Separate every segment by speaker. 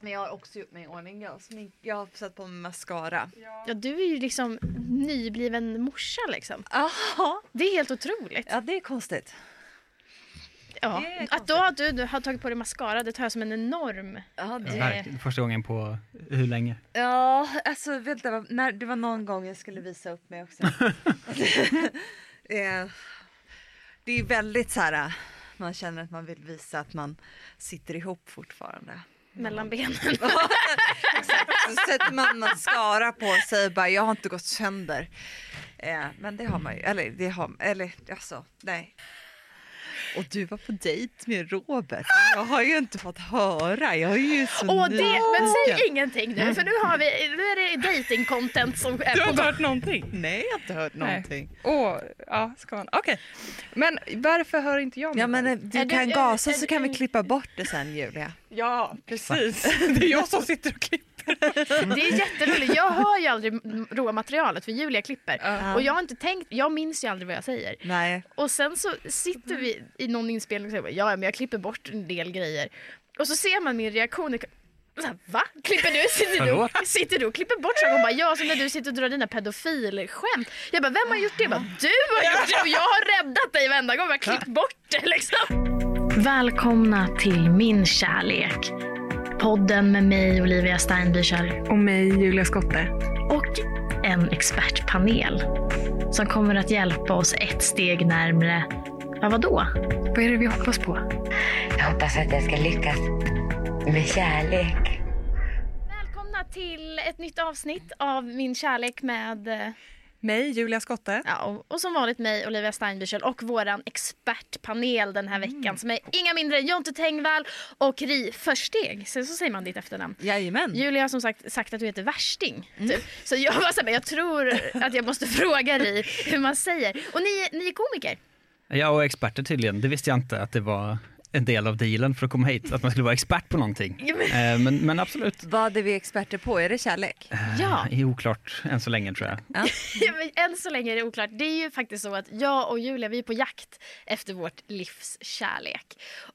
Speaker 1: Men jag har också gjort mig i ordning. Jag, har smink, jag har satt på mig mascara.
Speaker 2: Ja, du är ju liksom nybliven morsa liksom.
Speaker 1: Aha.
Speaker 2: Det är helt otroligt.
Speaker 1: Ja, det är konstigt.
Speaker 2: Ja.
Speaker 1: det är
Speaker 2: Att då att du, du har tagit på dig mascara, det tar jag som en enorm...
Speaker 1: Ja,
Speaker 3: Ja,
Speaker 1: det...
Speaker 3: verkligen. Första gången på hur länge?
Speaker 1: ja alltså vänta, vad- när, det var någon gång jag skulle visa upp mig också. Eh, det är väldigt så här, eh, man känner att man vill visa att man sitter ihop fortfarande.
Speaker 2: mellan benen.
Speaker 1: Så sätter man mascara på sig och bara, jag har inte gått sönder. Eh, men det har man ju, eller det har eller alltså, nej. Och du var på dejt med Robert. Jag har ju inte fått höra. Jag är ju så
Speaker 2: Åh, det, men säg ingenting nu för nu, har vi, nu är det dating content som är
Speaker 4: Du har
Speaker 2: på
Speaker 4: inte
Speaker 2: gång.
Speaker 4: hört någonting?
Speaker 1: Nej, jag har inte hört
Speaker 4: någonting. Åh, ja, ska man. Okej. Men varför hör inte jag
Speaker 1: Ja
Speaker 4: med
Speaker 1: men eh,
Speaker 4: dig?
Speaker 2: Är
Speaker 1: du
Speaker 2: du-
Speaker 1: kan
Speaker 2: är-
Speaker 1: gasa
Speaker 2: är
Speaker 1: så
Speaker 2: du-
Speaker 1: kan vi klippa bort det sen Julia.
Speaker 4: Ja, precis. Det är jag som sitter och klipper.
Speaker 2: Det är jätteroligt. Jag hör ju aldrig m- råmaterialet för Julia klipper. Och jag har inte tänkt, jag minns ju aldrig vad jag säger.
Speaker 1: Nej.
Speaker 2: Och sen så sitter vi i någon inspelning och säger ja men jag klipper bort en del grejer. Och så ser man min reaktion. Och Så här, Va? Klipper du? Sitter
Speaker 3: Förlåt?
Speaker 2: du, sitter du och klipper bort saker? Hon bara ja, så när du sitter och drar dina pedofilskämt. Jag bara vem har gjort det? Jag bara, du har gjort det och jag har räddat dig varenda gång. Jag har klippt bort det liksom. Välkomna till Min kärlek. Podden med mig Olivia Steinbüchel
Speaker 4: Och mig, Julia Skotte.
Speaker 2: och en expertpanel som kommer att hjälpa oss ett steg närmre, ja vadå?
Speaker 4: Vad är det vi hoppas på?
Speaker 5: Jag hoppas att jag ska lyckas med kärlek.
Speaker 2: Välkomna till ett nytt avsnitt av Min kärlek med, eh,
Speaker 4: Mig, Julia Skotte.
Speaker 2: ja, och, och som vanligt mig Olivia Steinbüchel och våran expertpanel den här veckan som är inga mindre än Jonte Tengvall och Ri Försteg. Sen så säger man ditt efternamn.
Speaker 1: Jajamän.
Speaker 2: Julia har som sagt sagt att du heter värsting. Typ. Så jag var såhär, men jag tror att jag måste fråga Ri hur man säger. Och ni, ni är komiker.
Speaker 3: Ja, och experter tydligen. Det visste jag inte att det var en del av dealen för att komma hit, att man skulle vara expert på någonting.
Speaker 2: Ja, men-
Speaker 3: Eh, Men, men absolut, Eh,
Speaker 1: Vad är vi experter på? Är det kärlek?
Speaker 2: Ja.
Speaker 3: det är oklart än så länge tror jag.
Speaker 2: Ja, men Än så länge är det oklart. Det är ju faktiskt så att jag och Julia vi är på jakt efter vårt livs kärlek.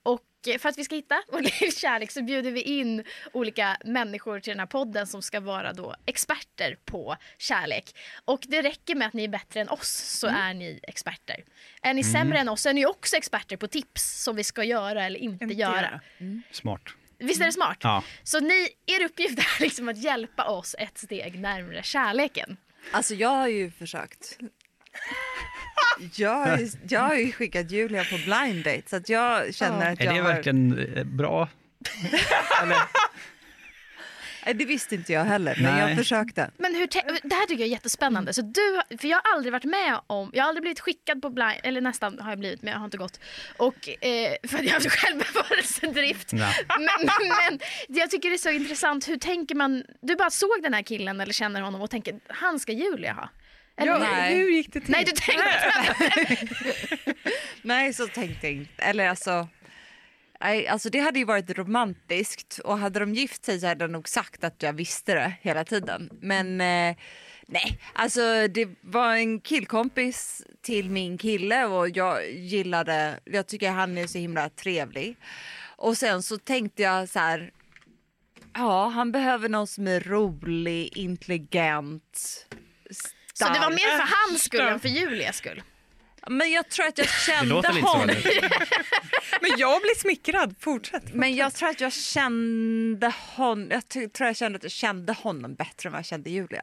Speaker 2: Och eh, för att vi ska hitta vår livs kärlek så bjuder vi in olika människor till den här podden som ska vara då experter på kärlek. Och det räcker med att ni är bättre än oss så är ni experter. Är ni sämre än oss så är ni också experter på tips som vi ska göra eller inte,
Speaker 4: Inte
Speaker 2: göra.
Speaker 4: göra.
Speaker 3: Smart.
Speaker 2: Visst är det smart?
Speaker 3: Ja.
Speaker 2: Så ni, er uppgift är liksom att hjälpa oss ett steg närmare kärleken.
Speaker 1: Alltså jag har ju försökt. Jag har ju, jag har ju skickat Julia på blind date så att jag känner att jag
Speaker 3: Är det
Speaker 1: har...
Speaker 3: verkligen eh, bra?
Speaker 1: Nej, Det visste inte jag heller men
Speaker 3: Nej.
Speaker 1: jag försökte.
Speaker 2: Men hur te- det här tycker jag är jättespännande. Så du, för jag har aldrig varit med om, jag har aldrig blivit skickad på blind, eller nästan har jag blivit men jag har inte gått. Och, eh, för att jag har haft självbevarelsedrift.
Speaker 3: Nej.
Speaker 2: Men, men jag tycker det är så intressant, hur tänker man, du bara såg den här killen eller känner honom och tänker han ska Julia ha? Eller,
Speaker 4: Ja,
Speaker 1: Nej.
Speaker 4: Hur gick det till?
Speaker 2: Nej du tänkte
Speaker 1: Nej så tänkte jag inte. Eller alltså, nej, alltså det hade ju varit romantiskt och hade de gift sig så hade jag nog sagt att jag visste det hela tiden. Men eh, nej, alltså det var en killkompis till min kille och jag gillade, jag tycker han är så himla trevlig. Och sen så tänkte jag så här, ja han behöver någon som är rolig, intelligent.
Speaker 2: Så Alltså, det var
Speaker 1: stark.
Speaker 2: mer för hans skull än för Julias skull.
Speaker 1: Men jag tror att jag
Speaker 3: Det
Speaker 1: kände
Speaker 3: låter lite så.
Speaker 1: honom.
Speaker 3: eller?
Speaker 4: Men jag blir smickrad. Fortsätt.
Speaker 1: Men jag tror att jag kände honom. Jag ty- tror jag kände att jag kände honom bättre än vad jag kände Julia.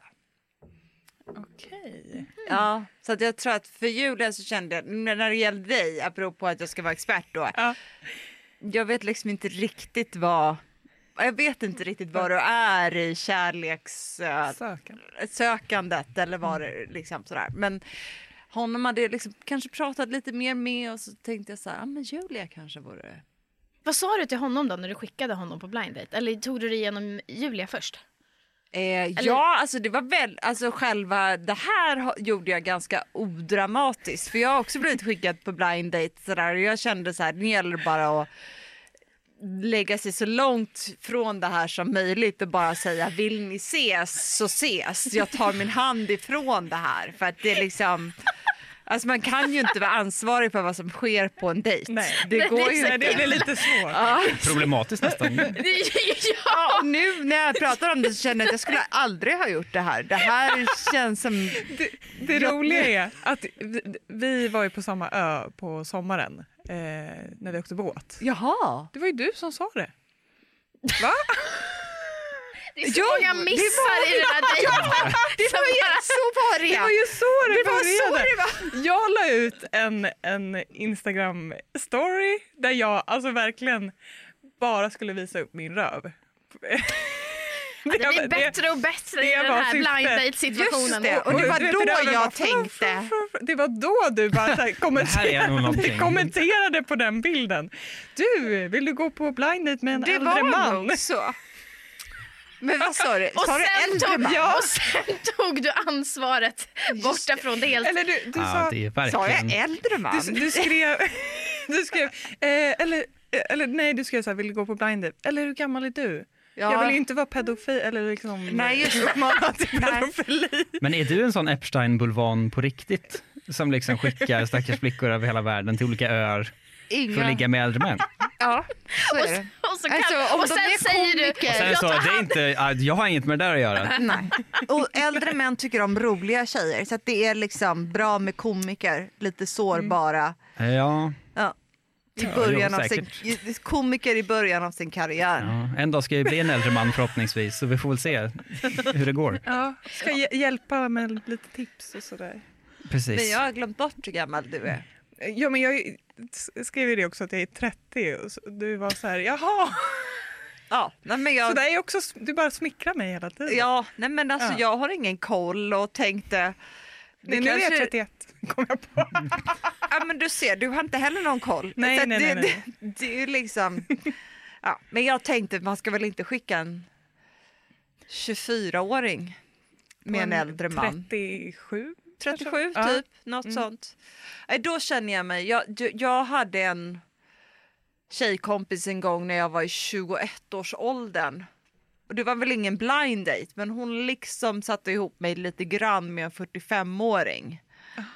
Speaker 4: Okej.
Speaker 1: Ja, så att jag tror att för Julia så kände jag, när när det gällde dig, apropå att jag ska vara expert då.
Speaker 4: Ja.
Speaker 1: Jag vet liksom inte riktigt vad, jag vet inte riktigt vad du är i kärlekssökandet
Speaker 4: Sökan.
Speaker 1: eller vad det liksom sådär. Men honom hade jag liksom kanske pratat lite mer med och så tänkte jag så här, ah, men Julia kanske vore
Speaker 2: Vad sa du till honom då när du skickade honom på blind date? Eller tog du det genom Julia först?
Speaker 1: Eh, Ja, alltså det var väl, alltså själva det här ha- gjorde jag ganska odramatiskt för jag har också blivit skickad på blind date sådär och jag kände så här, nu gäller det bara att lägga sig så långt från det här som möjligt och bara säga vill ni ses så ses, jag tar min hand ifrån det här för att det är liksom Alltså man kan ju inte vara ansvarig för vad som sker på en dejt.
Speaker 4: Nej.
Speaker 1: Det går ju
Speaker 4: Nej,
Speaker 1: inte.
Speaker 4: det blir lite svårt.
Speaker 1: Ja.
Speaker 3: Problematiskt nästan.
Speaker 1: Ja, och nu när jag pratar om det så känner jag att jag skulle aldrig ha gjort det här. Det här känns som...
Speaker 4: Det, det roliga är att vi, vi var ju på samma ö på sommaren eh, när vi åkte båt.
Speaker 1: Jaha.
Speaker 4: Det var ju du som sa det.
Speaker 2: Det är så
Speaker 1: Jo,
Speaker 2: många
Speaker 1: det
Speaker 2: missar i den här dejten.
Speaker 1: Det var ju så var det.
Speaker 4: Det
Speaker 1: ja.
Speaker 4: var ju så det,
Speaker 1: Det var så
Speaker 4: började.
Speaker 1: det var.
Speaker 4: Jag la ut en, en Instagram-story där jag alltså verkligen bara skulle visa upp min röv.
Speaker 2: Det blir bättre och bättre i
Speaker 4: det
Speaker 2: den
Speaker 4: var
Speaker 2: här
Speaker 4: syftet.
Speaker 2: blind date
Speaker 1: Just
Speaker 2: situationen.
Speaker 1: det, och det
Speaker 4: Och
Speaker 1: var
Speaker 4: du vet, det där
Speaker 1: då
Speaker 4: med bara,
Speaker 1: jag
Speaker 4: "Fuff, fuff,
Speaker 1: tänkte.
Speaker 4: fuff." Det var då du bara så här,
Speaker 3: Det här är nog
Speaker 4: kommenter-
Speaker 3: någonting.
Speaker 4: kommenterade på den bilden. Du, vill du gå på blind date med en
Speaker 1: Det
Speaker 4: äldre
Speaker 1: var
Speaker 4: man?
Speaker 1: nog så. Men vad sa du?
Speaker 2: Och
Speaker 1: Sa du
Speaker 2: sen,
Speaker 1: äldre
Speaker 2: tog,
Speaker 1: man?
Speaker 2: och sen tog du ansvaret borta från det helt.
Speaker 4: Eller du, du
Speaker 3: Ja,
Speaker 4: sa...
Speaker 3: det är
Speaker 1: Sa jag
Speaker 3: verkligen.
Speaker 1: äldre man?
Speaker 4: Du, du skrev... Du skrev eh, eller, eller nej, du skrev så här, vill du gå på blind date? Eller hur gammal är du?
Speaker 1: Ja.
Speaker 4: Jag vill ju inte vara pedofil eller liksom...
Speaker 1: Nej, just uppmana till
Speaker 4: pedofili.
Speaker 3: Men är du en sån Epstein-bulvan på riktigt? Som liksom skickar stackars flickor över hela världen till olika öar för att
Speaker 1: Inga.
Speaker 3: ligga med äldre män?
Speaker 1: Ja, så är det.
Speaker 2: Och, så kan,
Speaker 1: Alltså, om de
Speaker 2: och sen
Speaker 1: är
Speaker 2: säger du...
Speaker 1: komiker- Och
Speaker 3: Sen
Speaker 2: jag
Speaker 3: så,
Speaker 2: tar
Speaker 3: det är
Speaker 2: hand-
Speaker 3: inte, ja, jag har inget med det där att göra.
Speaker 1: Nej. Och äldre män tycker om roliga tjejer så att det är liksom bra med komiker, lite sårbara.
Speaker 3: Ja,
Speaker 1: Ja. I
Speaker 3: Ja,
Speaker 1: början
Speaker 3: jo,
Speaker 1: av sin, i- komiker i början av sin karriär.
Speaker 3: ja. En dag ska jag ju bli en äldre man förhoppningsvis, så vi får väl se hur det går.
Speaker 4: Ja, ska hj- hjälpa med lite tips och sådär.
Speaker 1: Men
Speaker 3: Precis.
Speaker 1: jag har glömt bort hur gammal du är.
Speaker 4: Ja, men jag skrev ju det också att jag är 30 och så, du var så här, jaha.
Speaker 1: Ja, nej men
Speaker 4: Så
Speaker 1: jag,
Speaker 4: där är också, du bara smickrar mig hela tiden.
Speaker 1: ja, nej men alltså
Speaker 4: Ja.
Speaker 1: jag har ingen koll och tänkte...
Speaker 4: nej, nu är jag 31, kom jag på.
Speaker 1: Ja, men du ser, du har inte heller någon koll.
Speaker 4: Nej,
Speaker 1: Så att
Speaker 4: nej,
Speaker 1: det,
Speaker 4: nej, nej.
Speaker 1: Det, det är ju liksom... Ja, men jag tänkte, man ska väl inte skicka en 24-åring med en äldre man.
Speaker 4: 37.
Speaker 1: 37
Speaker 4: Ja.
Speaker 1: typ, något sånt. Nej, då känner jag mig... Jag, jag- jag hade en tjejkompis en gång när jag var i 21-årsåldern. Och det var väl ingen blind date, men hon liksom satte ihop mig lite grann med en 45-åring.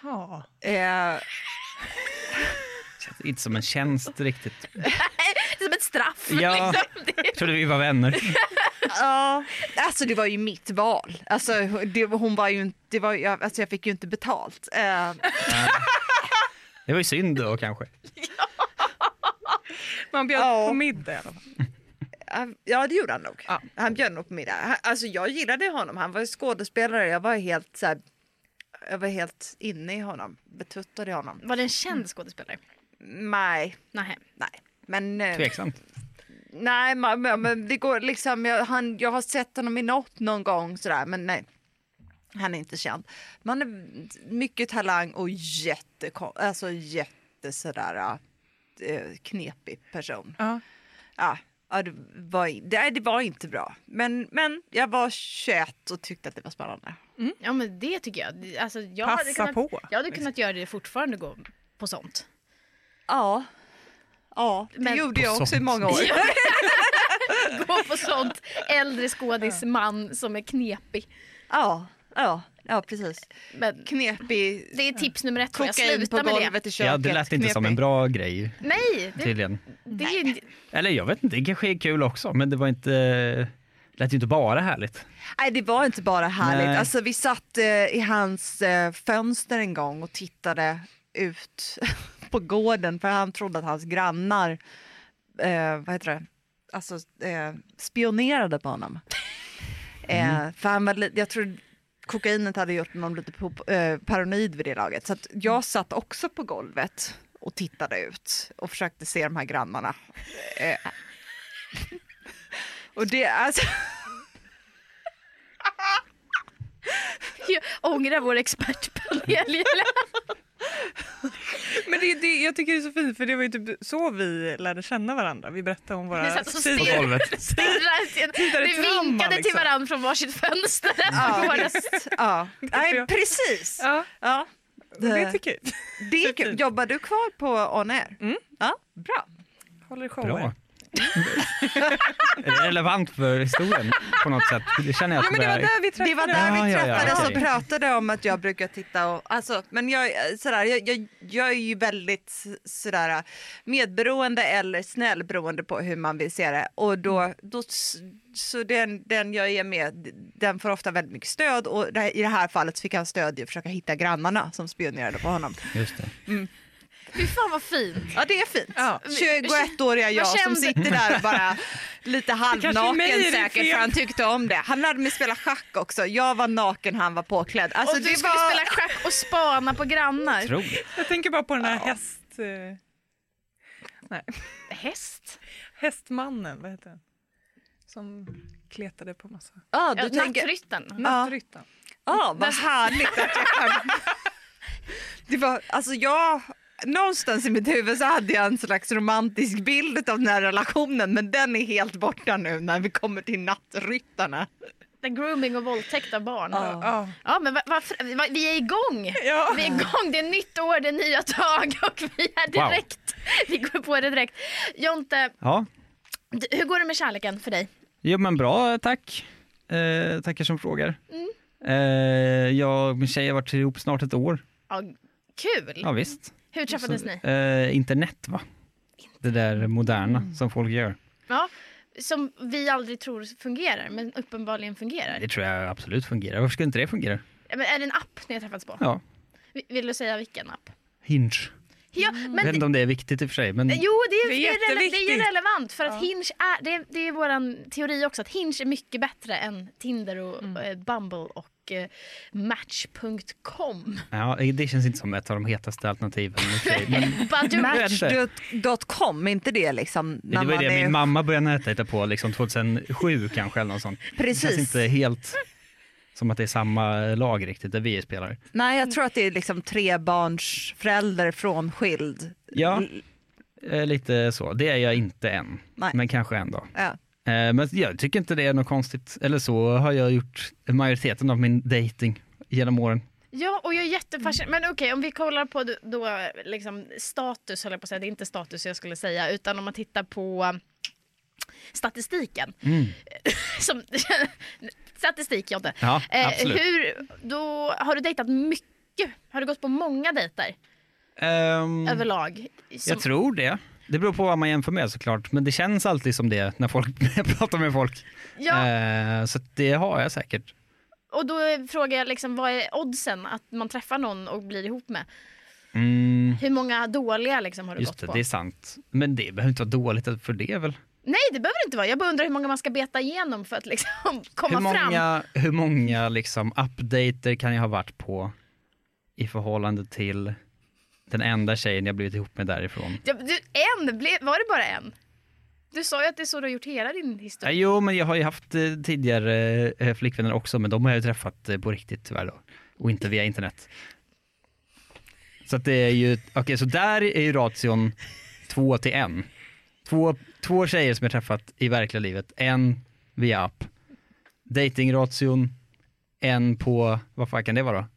Speaker 4: Ja.
Speaker 1: Eh,
Speaker 3: Känns Inte som en tjänst riktigt.
Speaker 2: Det är som ett straff.
Speaker 3: Ja.
Speaker 2: Liksom. Det är-
Speaker 3: Trodde vi var vänner.
Speaker 1: Ja, alltså det var ju mitt val. Alltså, det, hon var ju inte, det var, ju- jag, alltså jag fick ju inte betalt. Eh,
Speaker 3: Det var ju synd då kanske.
Speaker 4: Man bjöd
Speaker 1: Ja.
Speaker 4: på middag i alla fall.
Speaker 1: ja, det gjorde han nog.
Speaker 4: Ja.
Speaker 1: Han bjöd nog på middag. Han- Alltså jag gillade honom, han var ju skådespelare. Jag var helt så här, jag var helt inne i honom, betuttad i honom.
Speaker 2: Var det en känd skådespelare?
Speaker 1: Nej,
Speaker 2: Nej.
Speaker 1: nej. Men, eh,
Speaker 3: Tveksamt.
Speaker 1: nej, men, men- men det går liksom, jag, han, jag har sett honom i något någon gång sådär, men nej. Han är inte känd. Man är mycket talang och jätte, alltså jätte sådär eh, knepig person.
Speaker 4: Ja.
Speaker 1: Ja, ja det, var, in- det, det var inte bra. Men, men jag var 21 och tyckte att det var spännande.
Speaker 2: Ja men det tycker jag. Det- Alltså, jag hade
Speaker 4: Passa
Speaker 2: kunnat,
Speaker 4: på,
Speaker 2: Jag hade kunnat göra det fortfarande gå på sånt.
Speaker 1: Ja, ja det
Speaker 2: Men-
Speaker 1: gjorde jag
Speaker 3: På
Speaker 1: också i
Speaker 3: sånt.
Speaker 1: många år.
Speaker 2: Gå på sånt äldre skådis man som är knepig.
Speaker 1: Ja, ja, ja precis.
Speaker 2: Men
Speaker 1: Knepig,
Speaker 2: det är tips nummer ett. Får jag
Speaker 1: kokain på
Speaker 2: sluta med det?
Speaker 1: golvet i köket.
Speaker 3: Ja, det lät inte som
Speaker 1: knepig.
Speaker 3: en bra grej
Speaker 2: Nej! Det,
Speaker 3: tydligen.
Speaker 2: det är ju...
Speaker 3: Eller jag vet inte, det kanske är kul också, men det var inte... Det lät ju inte bara härligt.
Speaker 1: Nej, det var inte bara härligt.
Speaker 3: Nej.
Speaker 1: Alltså, vi satt eh, i hans eh, fönster en gång och tittade ut på gården för han trodde att hans grannar eh, vad heter det? Alltså, eh, spionerade på honom. Eh, för han var, li- jag tror kokainet hade gjort honom lite po- eh, paranoid vid det laget. Så att jag satt också på golvet och tittade ut och försökte se de här grannarna. Eh. Och det, alltså,
Speaker 2: Jag ångrar vår expertpanel.
Speaker 4: Men det, det, jag tycker det är så fint för det var ju typ så vi lärde känna varandra. Vi berättade om
Speaker 2: Vi
Speaker 4: våra
Speaker 2: satt och
Speaker 4: sidor.
Speaker 3: På
Speaker 2: stirrade.
Speaker 3: golvet.
Speaker 4: Tittade
Speaker 2: Vi
Speaker 4: framåt,
Speaker 2: vinkade till
Speaker 4: liksom.
Speaker 2: varandra från varsitt fönster.
Speaker 1: Ja, visst. Ja. Nej, precis.
Speaker 4: Ja,
Speaker 1: Ja.
Speaker 4: och
Speaker 1: Eh.
Speaker 4: det tycker jag. Mm.
Speaker 1: det är kul. Jobbar du kvar på On Air? Ja, bra.
Speaker 4: Håller shower.
Speaker 3: Bra. Är det relevant för historien på något sätt? Det känner jag
Speaker 4: Ja,
Speaker 3: att
Speaker 4: men det var
Speaker 3: börjar-
Speaker 4: där vi träffades.
Speaker 1: Det var där
Speaker 3: Ja,
Speaker 1: vi
Speaker 3: ja, ja,
Speaker 1: träffades och
Speaker 3: okej.
Speaker 1: pratade om att jag brukar titta och alltså, men jag, eh, sådär, jag, jag, jag är ju väldigt sådär medberoende eller snäll beroende på hur man vill se det och
Speaker 4: Mm.
Speaker 1: då, då s- så den, den jag är med den får ofta väldigt mycket stöd och det här, i det här fallet så fick han stöd i att försöka hitta grannarna som spionerade på honom.
Speaker 3: Just det.
Speaker 2: Fy fan vad fint.
Speaker 1: Ja det är fint.
Speaker 4: Ja.
Speaker 1: 21-åriga jag
Speaker 2: Vad
Speaker 1: som
Speaker 2: kände-
Speaker 1: sitter där och bara lite
Speaker 4: kanske är mig
Speaker 1: halvnaken
Speaker 4: det är
Speaker 1: säkert
Speaker 4: fel.
Speaker 1: för han tyckte om det. Han lärde mig spela schack också. Jag var naken, han var påklädd. Alltså,
Speaker 2: och du
Speaker 1: det
Speaker 2: skulle
Speaker 1: var...
Speaker 2: spela schack och spana på grannar.
Speaker 3: Otroligt.
Speaker 4: Jag tänker bara på den här häst... eh,
Speaker 2: Häst?
Speaker 4: Hästmannen, vad heter han? Som kletade på massa...
Speaker 1: Ja,
Speaker 2: Ja,
Speaker 1: du tänker...
Speaker 2: Nattrytten.
Speaker 4: Nattryttan.
Speaker 1: Ja, vad härligt att jag kan... Det var, alltså jag... Någonstans i mitt huvud så hade jag en slags romantisk bild av den här relationen men den är helt borta nu när vi kommer till nattryttarna.
Speaker 2: Där grooming och våldtäkt av barn.
Speaker 1: Ja.
Speaker 4: Ja.
Speaker 2: Ja, men va, va, va, vi är igång!
Speaker 4: Ja.
Speaker 2: Vi är igång, det är nytt år, det är nya tag och vi är
Speaker 3: Wow.
Speaker 2: direkt. Vi går på det direkt. Jonte,
Speaker 3: Ja,
Speaker 2: d- hur går det med kärleken för dig?
Speaker 3: Jo men bra, tack. Eh, tackar som frågar. Eh, jag och min tjej har varit ihop snart ett år.
Speaker 2: Ja, kul!
Speaker 3: Ja, visst.
Speaker 2: Hur träffades ni?
Speaker 3: Eh, internet va? Det där moderna som folk gör.
Speaker 2: Ja, som vi aldrig tror fungerar, men uppenbarligen fungerar.
Speaker 3: Det tror jag absolut fungerar. Varför skulle inte det fungera?
Speaker 2: Men är det en app ni har träffats på?
Speaker 3: Ja.
Speaker 2: Vi- Vill du säga vilken app?
Speaker 3: Hinge. Eh,
Speaker 2: Ja, men eh,
Speaker 3: Jag vet inte om det är viktigt i och för sig, men
Speaker 2: Jo, det är,
Speaker 4: Mm. Det är
Speaker 2: det är, rele- det är ju
Speaker 4: jätteviktigt.
Speaker 2: relevant för att Hinge är, det är, det är vår teori också, att Hinge är mycket bättre än Tinder och
Speaker 4: Mm.
Speaker 2: eh, Bumble och eh, Match.com.
Speaker 3: ja, det känns inte som ett av de hetaste alternativen. i och för sig. Men
Speaker 2: Badoo.
Speaker 1: Match.com, är inte det liksom när
Speaker 3: det var
Speaker 1: man
Speaker 3: ju det
Speaker 1: är
Speaker 3: min mamma började nätdejta på, liksom 2007 kanske eller något sånt. Det
Speaker 1: Precis.
Speaker 3: känns inte helt som att det är samma lag riktigt, där vi spelar.
Speaker 1: Nej, jag tror att det är liksom trebarnsförälder frånskild.
Speaker 3: Ja,
Speaker 1: L-
Speaker 3: eh, lite så. Det är jag inte än,
Speaker 1: Nej.
Speaker 3: men kanske en dag.
Speaker 1: Ja.
Speaker 3: Eh, Men jag tycker inte det är något konstigt. Eller så har jag gjort majoriteten av min dating genom åren.
Speaker 2: Ja, och jag är jättefascinerad.
Speaker 3: Mm.
Speaker 2: Men okej, om vi kollar på d- då, liksom, status, höll jag på att säga. Det är inte status jag skulle säga, utan om man tittar på statistiken.
Speaker 3: Mm.
Speaker 2: Som, statistik, Jonte. Eh,
Speaker 3: Ja, absolut.
Speaker 2: hur, då har du dejtat mycket? Har du gått på många dejter
Speaker 3: Ehm,
Speaker 2: överlag? Som-
Speaker 3: jag tror det. Det beror på vad man jämför med såklart, men det känns alltid som det när, folk, när jag pratar med folk.
Speaker 2: ja,
Speaker 3: Eh, så att det har jag säkert.
Speaker 2: och då frågar jag liksom, vad är oddsen att man träffar någon och blir ihop med?
Speaker 3: Mm,
Speaker 2: Hur många dåliga liksom, har du
Speaker 3: just
Speaker 2: gått
Speaker 3: det,
Speaker 2: på?
Speaker 3: det är sant. Men det behöver inte vara dåligt för det väl?
Speaker 2: Nej, det behöver det inte vara. Jag bara undrar hur många man ska beta igenom för att liksom komma
Speaker 3: Hur
Speaker 2: fram.
Speaker 3: många, hur många liksom updater kan jag ha varit på i förhållande till den enda tjejen jag blivit ihop med därifrån?
Speaker 2: Ja, du, en? Ble, var det bara en? Du sa ju att det är så du har gjort hela din
Speaker 3: Ja,
Speaker 2: historia.
Speaker 3: jo, men jag har ju haft eh, tidigare eh, flickvänner också, men de har jag ju träffat eh, på riktigt tyvärr då. Och inte via internet. Så att det är ju, okej, så där är ju ration två till en. Två, två tjejer som jag träffat i verkliga livet, en via app. Datingration, en på, vad fan kan det vara då?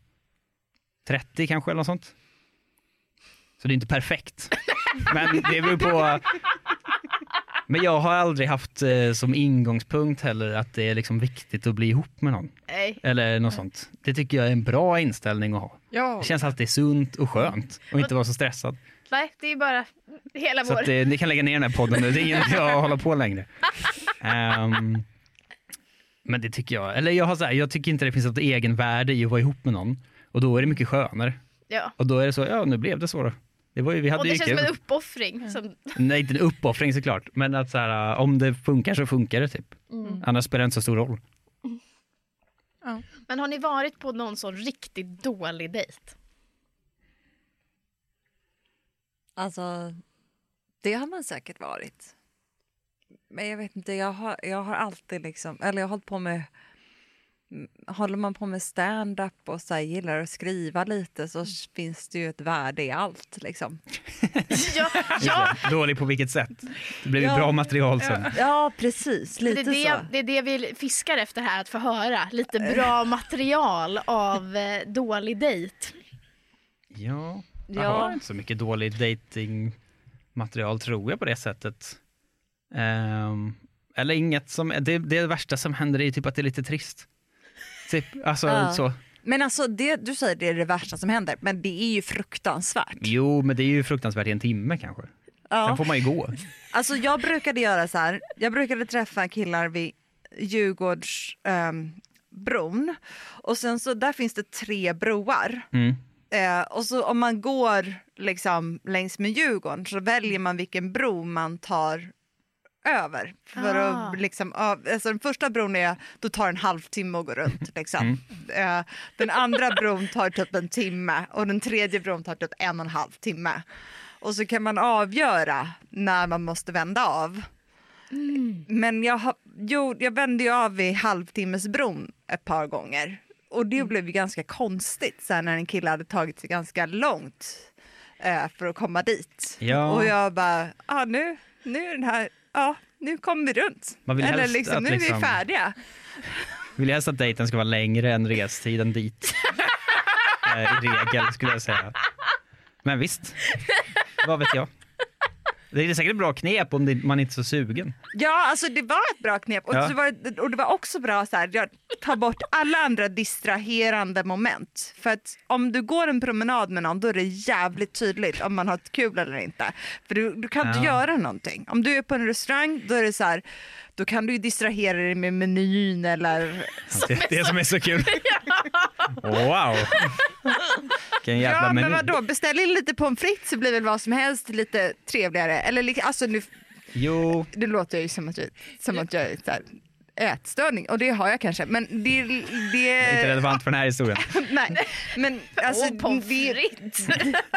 Speaker 3: 30 kanske eller något sånt. Så det är inte perfekt. Men det beror på men jag har aldrig haft eh, som ingångspunkt heller att det är liksom viktigt att bli ihop med någon.
Speaker 2: Nej.
Speaker 3: Eller något sånt. Det tycker jag är en bra inställning att ha.
Speaker 4: Ja.
Speaker 3: Det känns alltid sunt och skönt och inte vara så stressad.
Speaker 2: Nej, det är bara hela
Speaker 3: Så
Speaker 2: vår...
Speaker 3: att, eh, ni kan lägga ner den här podden nu, det är inget jag håller på längre. Ehm, men det tycker jag, eller jag har så här, jag tycker inte det finns något egenvärde i att vara ihop med någon. Och då är det mycket skönare.
Speaker 2: Ja.
Speaker 3: Och då är det så, ja nu blev det så då. Det var ju, vi hade
Speaker 2: Och det
Speaker 3: ju
Speaker 2: känns
Speaker 3: kul.
Speaker 2: som en uppoffring. Som,
Speaker 3: Nej, inte en uppoffring såklart, men att så här, om det funkar så funkar det typ.
Speaker 2: Mm.
Speaker 3: Annars spelar det inte så stor roll.
Speaker 2: men har ni varit på någon sån riktigt dålig dejt?
Speaker 1: Alltså, det har man säkert varit. Men jag vet inte, jag har, jag har alltid liksom, eller jag har hållit på med m, Håller man på med stand-up och så här, gillar att skriva lite så finns det ju ett värde i allt. Liksom.
Speaker 2: Ja, ja.
Speaker 3: Dålig på vilket sätt? Det blev ju
Speaker 1: Ja.
Speaker 3: bra material sen.
Speaker 1: Ja, precis.
Speaker 2: Det, är
Speaker 1: Lite
Speaker 2: det,
Speaker 1: så.
Speaker 2: det är det vi fiskar efter här, att få höra lite bra material av eh, dålig dejt.
Speaker 3: Ja, jag
Speaker 1: Ja.
Speaker 3: har inte så mycket dålig datingmaterial tror jag på det sättet. Ehm, eller inget som, det, det värsta som händer är ju typ att det är lite trist. Typ, alltså
Speaker 1: Ja.
Speaker 3: så.
Speaker 1: Men alltså det, du säger det är det värsta som händer, men det är ju fruktansvärt.
Speaker 3: Jo, men det är ju fruktansvärt i en timme kanske. Sen
Speaker 1: Ja.
Speaker 3: får man ju gå.
Speaker 1: Alltså jag brukade göra så här, jag brukade träffa killar vid Djurgårdsbron bron och sen så där finns det tre broar.
Speaker 3: Mm.
Speaker 1: Eh, och så om man går liksom längs med Djurgården så väljer man vilken bro man tar över. För
Speaker 2: Ah.
Speaker 1: att liksom, av- alltså den första bron är, då tar en halvtimme att gå runt. Liksom. Eh, den andra bron tar typ en timme och den tredje bron tar typ en och en halv timme. Och så kan man avgöra när man måste vända av. Men jag, har- jo, jag vände ju av vid halvtimmesbron ett par gånger. Och
Speaker 3: Mm.
Speaker 1: det blev ju ganska konstigt så här, när en kille hade tagit sig ganska långt eh, för att komma dit.
Speaker 3: Ja.
Speaker 1: Och jag bara, ah, nu, nu är den här, ja, nu kom vi runt.
Speaker 3: Man vill
Speaker 1: Eller
Speaker 3: helst att
Speaker 1: liksom, nu är
Speaker 3: liksom-
Speaker 1: vi färdiga.
Speaker 3: Vill jag helst att dejten ska vara längre än restiden dit. Eh, I regel skulle jag säga. Men visst, vad vet jag. Det är säkert bra knep om det, man inte är så sugen.
Speaker 1: Ja, alltså det var ett bra knep. Och,
Speaker 3: Ja.
Speaker 1: det, var, och det var också bra så här, jag tar bort alla andra distraherande moment. För att om du går en promenad med någon då är det jävligt tydligt om man har ett kul eller inte. För du, du kan inte
Speaker 3: Ja.
Speaker 1: göra någonting. Om du är på en restaurang då är det så här, då kan du ju distrahera dig med menyn eller...
Speaker 3: Det är det som är så kul. Wow! Vilken jävla
Speaker 1: ja, men
Speaker 3: meny.
Speaker 1: vadå, beställ in lite pommes frites så blir väl vad som helst lite trevligare. Eller lik- alltså nu,
Speaker 3: Jo,
Speaker 1: det låter ju som att jag, som att jag är så här, ätstörning och det har jag kanske men det...
Speaker 3: det är inte
Speaker 1: det
Speaker 3: relevant för den här historien
Speaker 1: Nej, men alltså...
Speaker 2: och pommes
Speaker 1: det-
Speaker 2: frites.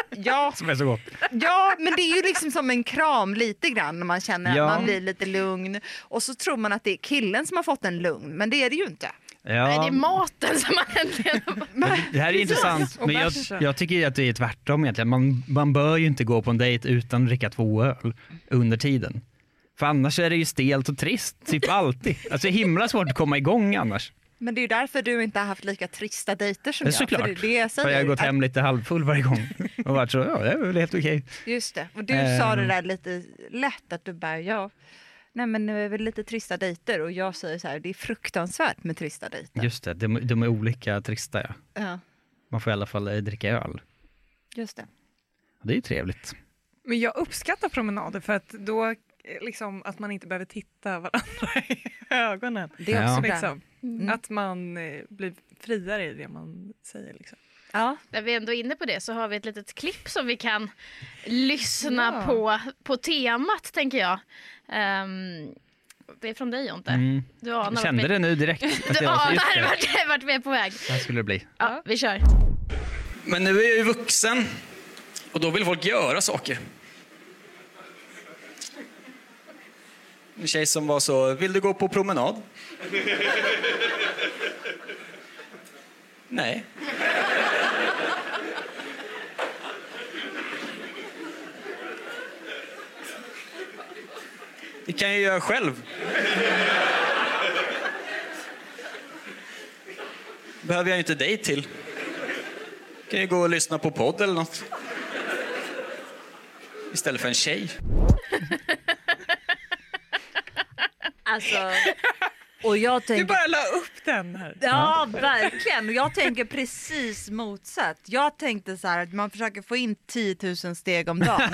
Speaker 1: ja,
Speaker 3: som är så gott.
Speaker 1: ja, men det är ju liksom som en kram lite grann när man känner
Speaker 3: Ja.
Speaker 1: att man blir lite lugn och så tror man att det är killen som har fått en lugn, men det är det ju inte.
Speaker 2: Nej, det
Speaker 3: Ja,
Speaker 2: är maten som man äntligen har
Speaker 3: det här är intressant,
Speaker 4: Och
Speaker 3: men jag,
Speaker 4: bärsen.
Speaker 3: jag tycker ju att det är tvärtom egentligen. Man, man bör ju inte gå på en dejt utan att dricka två öl under tiden. För annars är det ju stelt och trist, typ alltid. Alltså det är himla svårt att komma igång annars.
Speaker 1: Men det är ju därför du inte har haft lika trista dejter som
Speaker 3: Det är
Speaker 1: jag.
Speaker 3: Eh, såklart.
Speaker 1: För det är det jag
Speaker 3: För jag har
Speaker 1: säger.
Speaker 3: gått hem lite halvfull varje gång och varit så, ja det är väl helt okej.
Speaker 1: Att, just det, och du
Speaker 3: Ehm.
Speaker 1: sa det där lite lätt att du bara, ja, nej men nu är väl lite trista dejter och jag säger så här, det är fruktansvärt med trista dejter.
Speaker 3: Just det, de, de är olika trista ja.
Speaker 1: Ja,
Speaker 3: Man får i alla fall eh, dricka öl.
Speaker 1: just det.
Speaker 3: Det är ju trevligt.
Speaker 4: Men jag uppskattar promenader för att då eh, liksom att man inte behöver titta varandra i ögonen.
Speaker 1: Det är också
Speaker 3: Ja.
Speaker 1: bra.
Speaker 4: Liksom.
Speaker 1: Mm.
Speaker 4: Att man eh, blir friare i det man säger. Liksom.
Speaker 1: Ja.
Speaker 2: När vi ändå är inne på det så har vi ett litet klipp som vi kan lyssna
Speaker 4: Ja.
Speaker 2: på, på temat tänker jag. Ehm, det är från dig Jonte.
Speaker 3: Mm.
Speaker 2: Du anar
Speaker 3: Jag
Speaker 2: vart
Speaker 3: kände
Speaker 2: vi-
Speaker 3: det nu direkt. att
Speaker 2: Du
Speaker 3: det var så-
Speaker 2: anar
Speaker 3: just det.
Speaker 2: vart, vart vi är på väg.
Speaker 3: Så här skulle det bli.
Speaker 2: Ja, vi kör.
Speaker 6: Men nu är jag ju vuxen och då vill folk göra saker. En tjej som var så, vill du gå på promenad? Nej. Det kan jag göra själv. Behöver jag ju inte dig till kan ju gå och lyssna på podd eller något. Istället för en tjej.
Speaker 1: Alltså, och jag
Speaker 4: Du
Speaker 1: tänker...
Speaker 4: bara la upp den här.
Speaker 1: Ja, verkligen. Och jag tänker precis motsatt. Jag tänkte så här att man försöker få in 10 000 steg om dagen.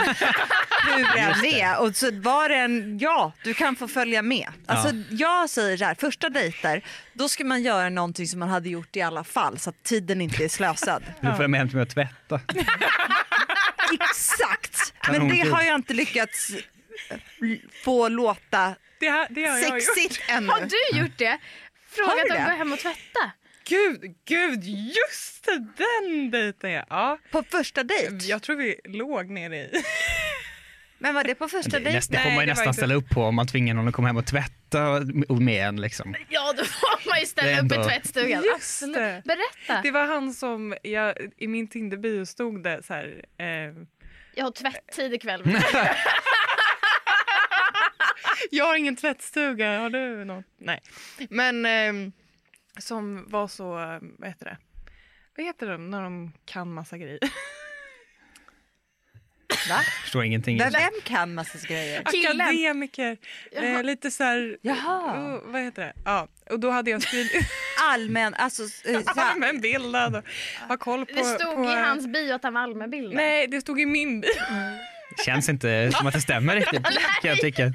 Speaker 1: Hur än det är. Och så var det en, ja, du kan få följa med. Alltså, Jag säger så här, första dejter, då ska man göra någonting som man hade gjort i alla fall så att tiden inte är slösad.
Speaker 3: Nu får jag med hem till mig att tvätta.
Speaker 1: Exakt! Men det
Speaker 3: Kanonkul.
Speaker 1: har jag inte lyckats eh, få låta
Speaker 4: Det, här, det har jag gjort.
Speaker 1: sexigt ännu.
Speaker 2: Har du gjort det?
Speaker 1: Har
Speaker 2: Frågat
Speaker 1: du
Speaker 2: om
Speaker 1: det?
Speaker 2: att gå hem och tvätta?
Speaker 4: Gud, gud, just det, den dejten ja. ja.
Speaker 1: På första dejt?
Speaker 4: Mm, Jag tror vi låg nere i...
Speaker 1: Men var det på första
Speaker 3: Det,
Speaker 1: dejten?
Speaker 3: nästa, det får
Speaker 4: Nej,
Speaker 3: man ju
Speaker 4: det var
Speaker 3: nästan
Speaker 4: inte-
Speaker 3: ställa upp på om man tvingar någon att komma hem och tvätta och med en. Liksom.
Speaker 2: Ja, då får man ju
Speaker 3: Det är
Speaker 2: ställa upp
Speaker 3: ändå-
Speaker 2: i tvättstugan.
Speaker 4: Just
Speaker 2: Absolut.
Speaker 4: det.
Speaker 2: Berätta.
Speaker 4: Det var han som, jag, i min Tinder-bio stod det så här... Eh,
Speaker 2: Jag har tvätttid ikväll.
Speaker 4: jag har ingen tvättstuga, har du något? Nej. Men eh, som var så, eh, vad heter det? Vad heter de när de kan massa grejer?
Speaker 1: Va?
Speaker 3: Förstår ingenting.
Speaker 1: Men vem kan massa grejer?
Speaker 2: Killen.
Speaker 4: Akademiker. Eh, lite så här...
Speaker 1: Jaha.
Speaker 4: Oh, vad heter det? Ja, och då hade jag skrivit
Speaker 1: Allmän, alltså... eh, så här-
Speaker 4: allmänbildad och har koll på...
Speaker 2: Det stod
Speaker 4: på,
Speaker 2: i hans bio att han var allmänbildad.
Speaker 4: Nej, det stod i min bil.
Speaker 3: Känns inte som att det stämmer riktigt kan jag tycka.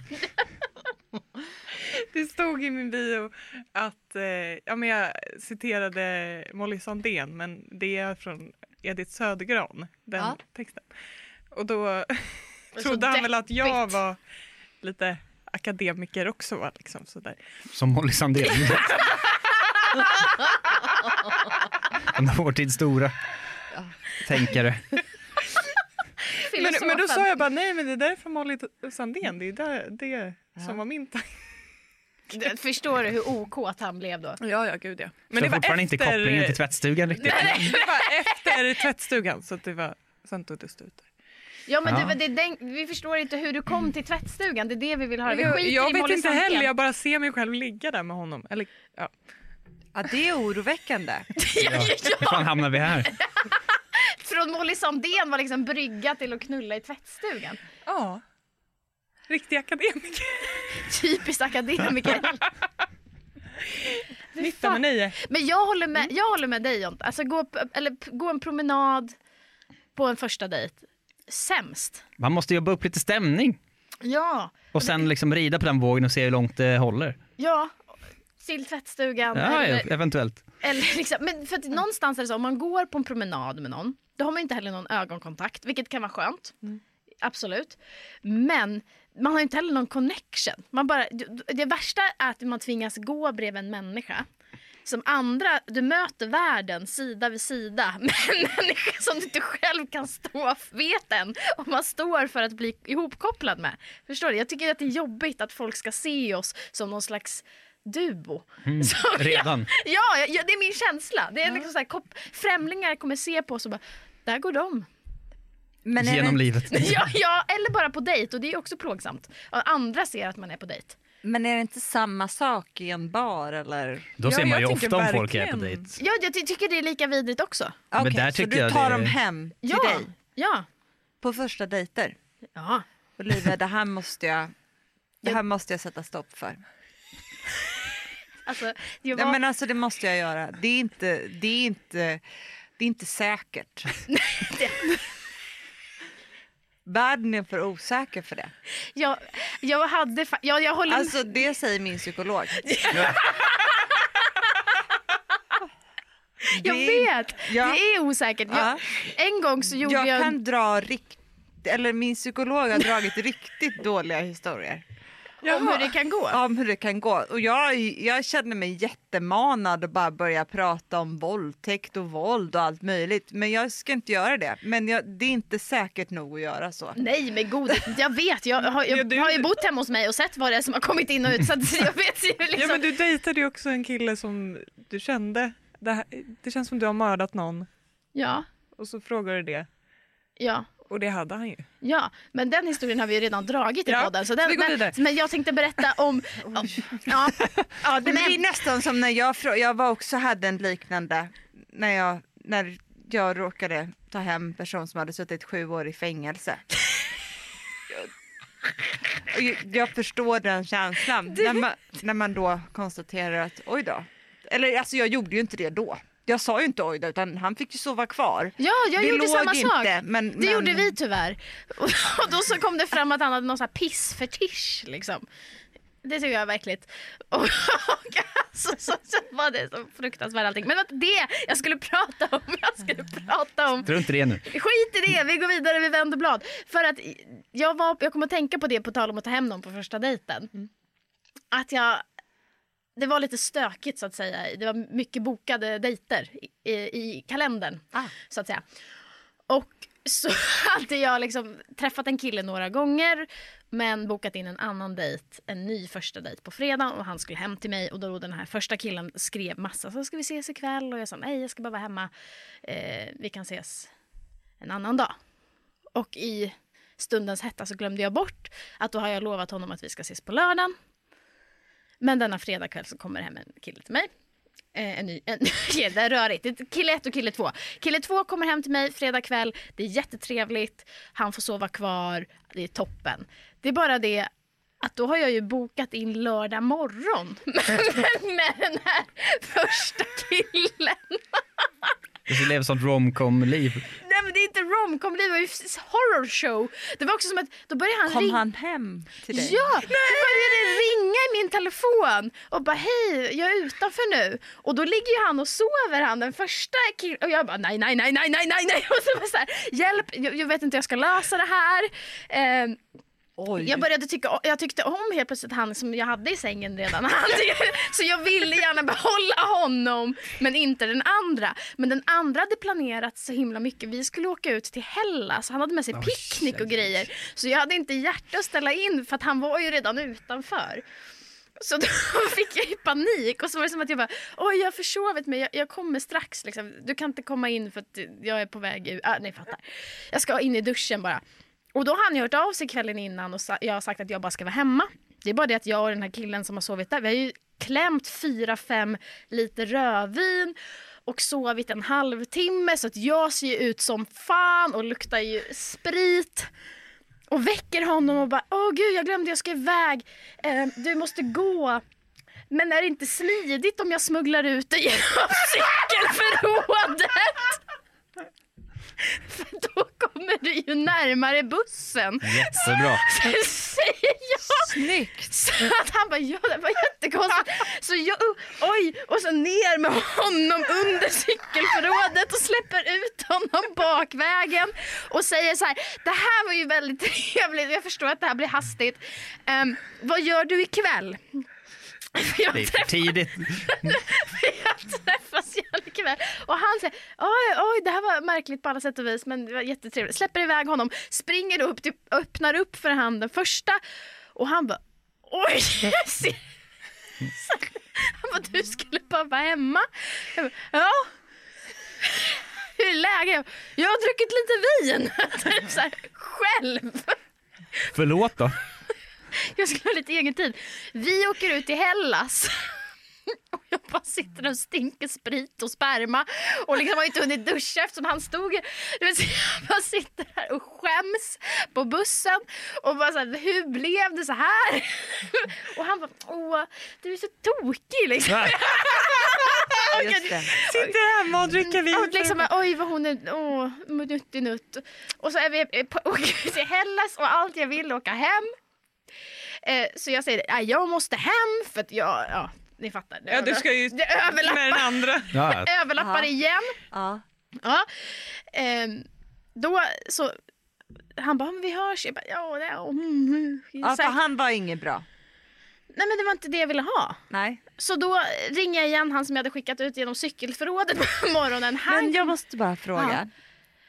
Speaker 4: Det stod i min bio att eh, ja, men jag citerade Molly Sandén men det är från Edith Södergran, den
Speaker 1: Ja.
Speaker 4: texten. Och då
Speaker 2: så
Speaker 4: trodde han väl att jag
Speaker 2: deppigt.
Speaker 4: var lite akademiker också. va, Liksom, sådär.
Speaker 3: Som Molly Sandén. En av vår tids stora tänkare.
Speaker 4: Men,
Speaker 2: Filosofen.
Speaker 4: men då sa jag bara nej men det där är från Molly Sandén, det är där, det som var min tanke.
Speaker 2: Du, Förstår du hur okåt han blev då?
Speaker 4: Ja, ja, gud ja.
Speaker 3: Men det fortfarande inte kopplingen till tvättstugan riktigt.
Speaker 4: det var efter tvättstugan så att det var sånt och dust ut.
Speaker 2: Ja men
Speaker 3: Ja.
Speaker 2: Du, det, är den, vi förstår inte hur du kom till tvättstugan, det är det vi vill höra. Vi
Speaker 4: Jag,
Speaker 2: skiter i
Speaker 4: jag vet
Speaker 2: Molly
Speaker 4: inte
Speaker 2: Sandén.
Speaker 4: heller, jag bara ser mig själv ligga där med honom. Eller, ja.
Speaker 1: Ja, det är oroväckande.
Speaker 3: Hur fan hamnar vi här?
Speaker 2: Från Molly Sandén var liksom brygga till att knulla i tvättstugan.
Speaker 4: Ja. Riktig akademiker.
Speaker 2: Typiskt akademiker.
Speaker 4: Nytta med nöje.
Speaker 2: Men jag håller med, jag håller med dig Jonte. Alltså gå, p- eller, p- gå en promenad på en första dejt. Sämst.
Speaker 3: Man måste jobba upp lite stämning
Speaker 2: Ja.
Speaker 3: och sen liksom rida på den vågen och se hur långt det håller.
Speaker 2: Ja. Till tvättstugan.
Speaker 3: Ja,
Speaker 2: eller,
Speaker 3: eventuellt.
Speaker 2: eller liksom, men för att någonstans är det så, om man går på en promenad med någon, då har man ju inte heller någon ögonkontakt, vilket kan vara skönt. Absolut. Men man har ju inte heller någon connection. Man bara, det värsta är att man tvingas gå bredvid en människa som andra, du möter världen sida vid sida med en människa som du inte själv kan stå vet än om man står för att bli ihopkopplad med. Förstår du? Jag tycker att det är jobbigt att folk ska se oss som någon slags duo. Som jag-
Speaker 3: redan.
Speaker 2: Ja, ja, det är min känsla. Det är liksom så här, kop- främlingar kommer se på oss och bara, där går de.
Speaker 1: Men är det
Speaker 3: Genom
Speaker 1: inte-
Speaker 3: livet.
Speaker 2: Ja, ja, eller bara på dejt och det är också plågsamt. Ja, Andra ser att man är på dejt.
Speaker 1: Men är det inte samma sak i en bar eller?
Speaker 3: Då ser
Speaker 4: Ja,
Speaker 3: man
Speaker 4: jag
Speaker 3: ju
Speaker 4: tänker
Speaker 3: ofta om folk är på
Speaker 4: verkligen.
Speaker 3: dejt.
Speaker 2: Ja, jag ty- tycker det är lika vidrigt också.
Speaker 3: Men
Speaker 1: Okej,
Speaker 3: där
Speaker 1: så
Speaker 3: tycker
Speaker 1: du
Speaker 3: jag
Speaker 1: tar
Speaker 3: det-
Speaker 1: dem hem till
Speaker 2: Ja.
Speaker 1: dig
Speaker 2: Ja.
Speaker 1: på första dejter?
Speaker 2: ja.
Speaker 1: Olivia, det här måste jag, det här måste jag sätta stopp för.
Speaker 2: Alltså, jag var...
Speaker 1: Nej, men alltså det måste jag göra. Det är inte, det är inte, det är inte säkert. Världen är för osäker för det.
Speaker 2: jag, jag hade... Fa... Ja, jag håller med.
Speaker 1: Alltså det säger min psykolog.
Speaker 2: Jag
Speaker 1: det-
Speaker 2: vet!
Speaker 1: ja.
Speaker 2: Det är osäkert. Jag,
Speaker 1: Ja.
Speaker 2: En gång så gjorde jag...
Speaker 1: Jag kan dra rikt, eller min psykolog har dragit riktigt dåliga historier.
Speaker 2: Om hur det kan gå.
Speaker 1: om hur det kan gå. Och jag, jag kände mig jättemanad att bara börja prata om våldtäkt och våld och allt möjligt. Men jag ska inte göra det. Men jag, det är inte säkert nog att göra så.
Speaker 2: Nej men god, jag vet. Jag har, jag
Speaker 4: Ja, du-
Speaker 2: har ju bott hemma hos mig och sett vad det är som har kommit in och ut. Så att jag vet ju liksom...
Speaker 4: Ja, men du dejtade ju också en kille som du kände. Det, här, det känns som du har mördat någon.
Speaker 2: ja,
Speaker 4: Och så frågade du det.
Speaker 2: ja.
Speaker 4: Och det hade han ju.
Speaker 2: Ja, men den historien har vi ju redan dragit i
Speaker 4: Ja,
Speaker 2: podden. Så
Speaker 4: så
Speaker 2: den,
Speaker 4: vi går
Speaker 2: men-
Speaker 4: vidare.
Speaker 2: men jag tänkte berätta om... om ja, ja,
Speaker 1: Men det är
Speaker 2: men,
Speaker 1: nästan som när jag, frå- jag var också hade en liknande när jag, när jag råkade ta hem en person som hade suttit sju år i fängelse. Och Jag, jag förstår den känslan när, man, när man då konstaterar att oj då. Eller alltså jag gjorde ju inte det då. Jag sa ju inte oj då utan han fick ju sova kvar.
Speaker 2: Ja, jag
Speaker 1: Vi
Speaker 2: gjorde
Speaker 1: låg
Speaker 2: samma
Speaker 1: inte,
Speaker 2: sak.
Speaker 1: men-
Speaker 2: det
Speaker 1: men-
Speaker 2: gjorde vi tyvärr. Och, och då så kom det fram att han hade någon sån här pissfetisch liksom. Det tycker jag var äckligt. Och, och så, så, så var det så fruktansvärt allting. Men att det jag skulle prata om, jag skulle prata om
Speaker 3: Tror inte det nu.
Speaker 2: Skit i det, vi går vidare, vi vänder blad. För att jag, var, jag kom att tänka på det på tal om att ta hem någon på första dejten. Att jag, det var lite stökigt så att säga. Det var mycket bokade dejter i, i kalendern så att säga. Och så hade jag liksom träffat en kille några gånger men bokat in en annan dejt, en ny första dejt på fredag och han skulle hem till mig och då den här första killen skrev massa så ska vi ses ikväll och jag sa nej jag ska bara vara hemma. Eh, vi kan ses en annan dag. Och i stundens hetta så glömde jag bort att då har jag lovat honom att vi ska ses på lördagen. Men denna fredagkväll så kommer det hem en kille till mig. Eh, en ny, en, Okej, det är rörigt. Det är Kille ett och kille två. Kille två kommer hem till mig fredag kväll. Det är jättetrevligt. Han får sova kvar. Det är toppen. Det är bara det att då har jag ju bokat in lördag morgon med den här första killen.
Speaker 3: Du lever sånt romcom-liv.
Speaker 2: Nej men det är inte romcom, det var ju horror show. Det var också som att då började han
Speaker 1: Kom
Speaker 2: ringa.
Speaker 1: han hem till dig?
Speaker 2: Ja, det började ringa i min telefon och bara hej, jag är utanför nu. Och då ligger ju han och sover han den första killen och jag bara nej, nej, nej, nej, nej, nej, nej. Och så bara så här, hjälp, jag, jag vet inte hur jag ska lösa det här. Eh,
Speaker 1: Oj.
Speaker 2: jag började tycka, jag tyckte om helt plötsligt han som jag hade i sängen redan. Han, så jag ville gärna behålla honom men inte den andra. Men den andra hade planerat så himla mycket. Vi skulle åka ut till Hellas. Han hade med sig picknick och
Speaker 3: herregud.
Speaker 2: grejer. Så jag hade inte hjärta att ställa in för att han var ju redan utanför. Så då fick jag ju panik och så var det som att jag bara oj jag har försovit mig, jag, jag kommer strax liksom. Du kan inte komma in för att jag är på väg ut. Ah, nej fattar. Jag ska in i duschen bara. Och då har han ju hört av sig kvällen innan och sa, jag har sagt att jag bara ska vara hemma. Det är bara det att jag och den här killen som har sovit där, vi har ju klämt fyra fem liter rödvin och sovit en halvtimme så att jag ser ju ut som fan och luktar ju sprit. Och väcker honom och bara åh gud jag glömde jag ska iväg, eh, du måste gå. Men är det inte smidigt om jag smugglar ut dig genom cykelförrådet? För då kommer du ju närmare bussen.
Speaker 3: Jättebra.
Speaker 2: Säger jag.
Speaker 1: Snyggt!
Speaker 2: Så att han bara, ja det var jättekonstigt. Så jag, oj, och så ner med honom under cykelförrådet och släpper ut honom bakvägen och säger så här, det här var ju väldigt trevligt, jag förstår att det här blir hastigt. Ehm, vad gör du ikväll? För jag
Speaker 3: Det är för tidigt.
Speaker 2: jag träffas gärna ikväll. Och han säger oj, oj, det här var märkligt på alla sätt och vis men det var jättetrevligt. Släpper iväg honom, springer upp, till, öppnar upp för han den första och han bara oj. jag ser- han bara du skulle bara vara hemma. Jag bara, ja. Hur är läget? Jag har druckit lite vin. typ så här, själv.
Speaker 3: Förlåt då.
Speaker 2: Jag skulle ha lite egen tid. Vi åker ut till Hellas. Och jag bara sitter där och stinker sprit och sperma och liksom har inte hunnit duscha eftersom han stod... Du vet, så jag bara sitter där och skäms på bussen och bara så här, hur blev det så här? Och han bara, åh, du är så tokig liksom.
Speaker 1: Just det.
Speaker 4: Sitter hemma och dricker vin.
Speaker 2: Och liksom, oj vad hon är, åh, nuttinutt. Och så är vi eh, på, åker vi till Hellas och allt jag vill är åka hem. Eh, så jag säger, "Nej, jag måste hem för att jag, ja, ni fattar. Det
Speaker 4: Ja, du ska ju
Speaker 2: det överlappar,
Speaker 4: med den andra.
Speaker 3: Ja,
Speaker 2: överlappar
Speaker 1: Aha.
Speaker 2: igen.
Speaker 1: Ja.
Speaker 2: Ja. Ehm, då så, han bara, men vi hörs. Jag bara, ja, det, oh, mm, mm."
Speaker 1: ja,
Speaker 2: Så
Speaker 1: för
Speaker 2: här,
Speaker 1: han var ingen bra.
Speaker 2: Nej men det var inte det jag ville ha.
Speaker 1: Nej.
Speaker 2: Så då ringer jag igen han som jag hade skickat ut genom cykelförrådet på morgonen. Han
Speaker 1: Men jag måste bara fråga.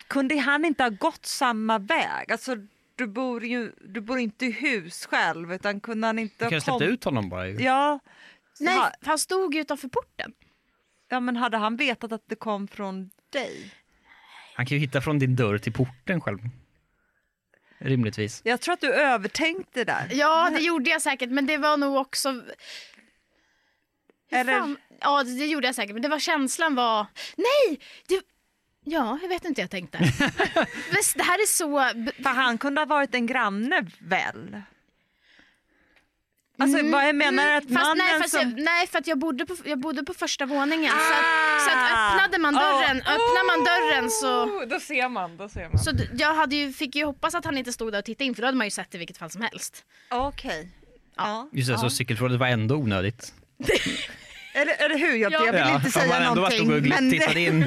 Speaker 1: Kunde han inte ha gått samma väg? Alltså, du bor ju du bor inte i hus själv utan kunde han inte
Speaker 3: Du kan släppa ut honom bara. ju.
Speaker 1: Ja.
Speaker 2: Nej,
Speaker 1: Ha-
Speaker 2: för han stod ju utanför porten.
Speaker 1: ja, men hade han vetat att det kom från dig?
Speaker 3: Han kan ju hitta från din dörr till porten själv. Rimligtvis.
Speaker 1: Jag tror att du övertänkte där.
Speaker 2: Ja, det gjorde jag säkert, men det var nog också... Hur
Speaker 1: Eller-
Speaker 2: fan- Ja, det gjorde jag säkert, men det var känslan var... Nej! Det... Ja, jag vet inte jag tänkte. Men det här är så...
Speaker 1: För han kunde ha varit en granne väl? Alltså vad jag menar är att
Speaker 2: Mm. Fast,
Speaker 1: mannen
Speaker 2: nej, fast
Speaker 1: som...
Speaker 2: jag, nej, för att jag bodde på, jag bodde på första våningen. Så, att, så att
Speaker 1: Ah.
Speaker 2: öppnade man dörren,
Speaker 1: Oh.
Speaker 2: öppnar man dörren så...
Speaker 4: Oh, då ser man, då ser man.
Speaker 2: Så d- jag hade ju, fick ju hoppas att han inte stod där och tittade in, för då hade man ju sett det i vilket fall som helst.
Speaker 1: Okej. Ja.
Speaker 3: Just det, så cykelförrådet var ändå onödigt.
Speaker 1: Eller, eller hur? Jag, jag vill
Speaker 3: Ja,
Speaker 1: inte
Speaker 3: om man
Speaker 1: säga
Speaker 3: ändå bara
Speaker 1: någonting.
Speaker 3: stod och
Speaker 1: Men
Speaker 3: tittade in.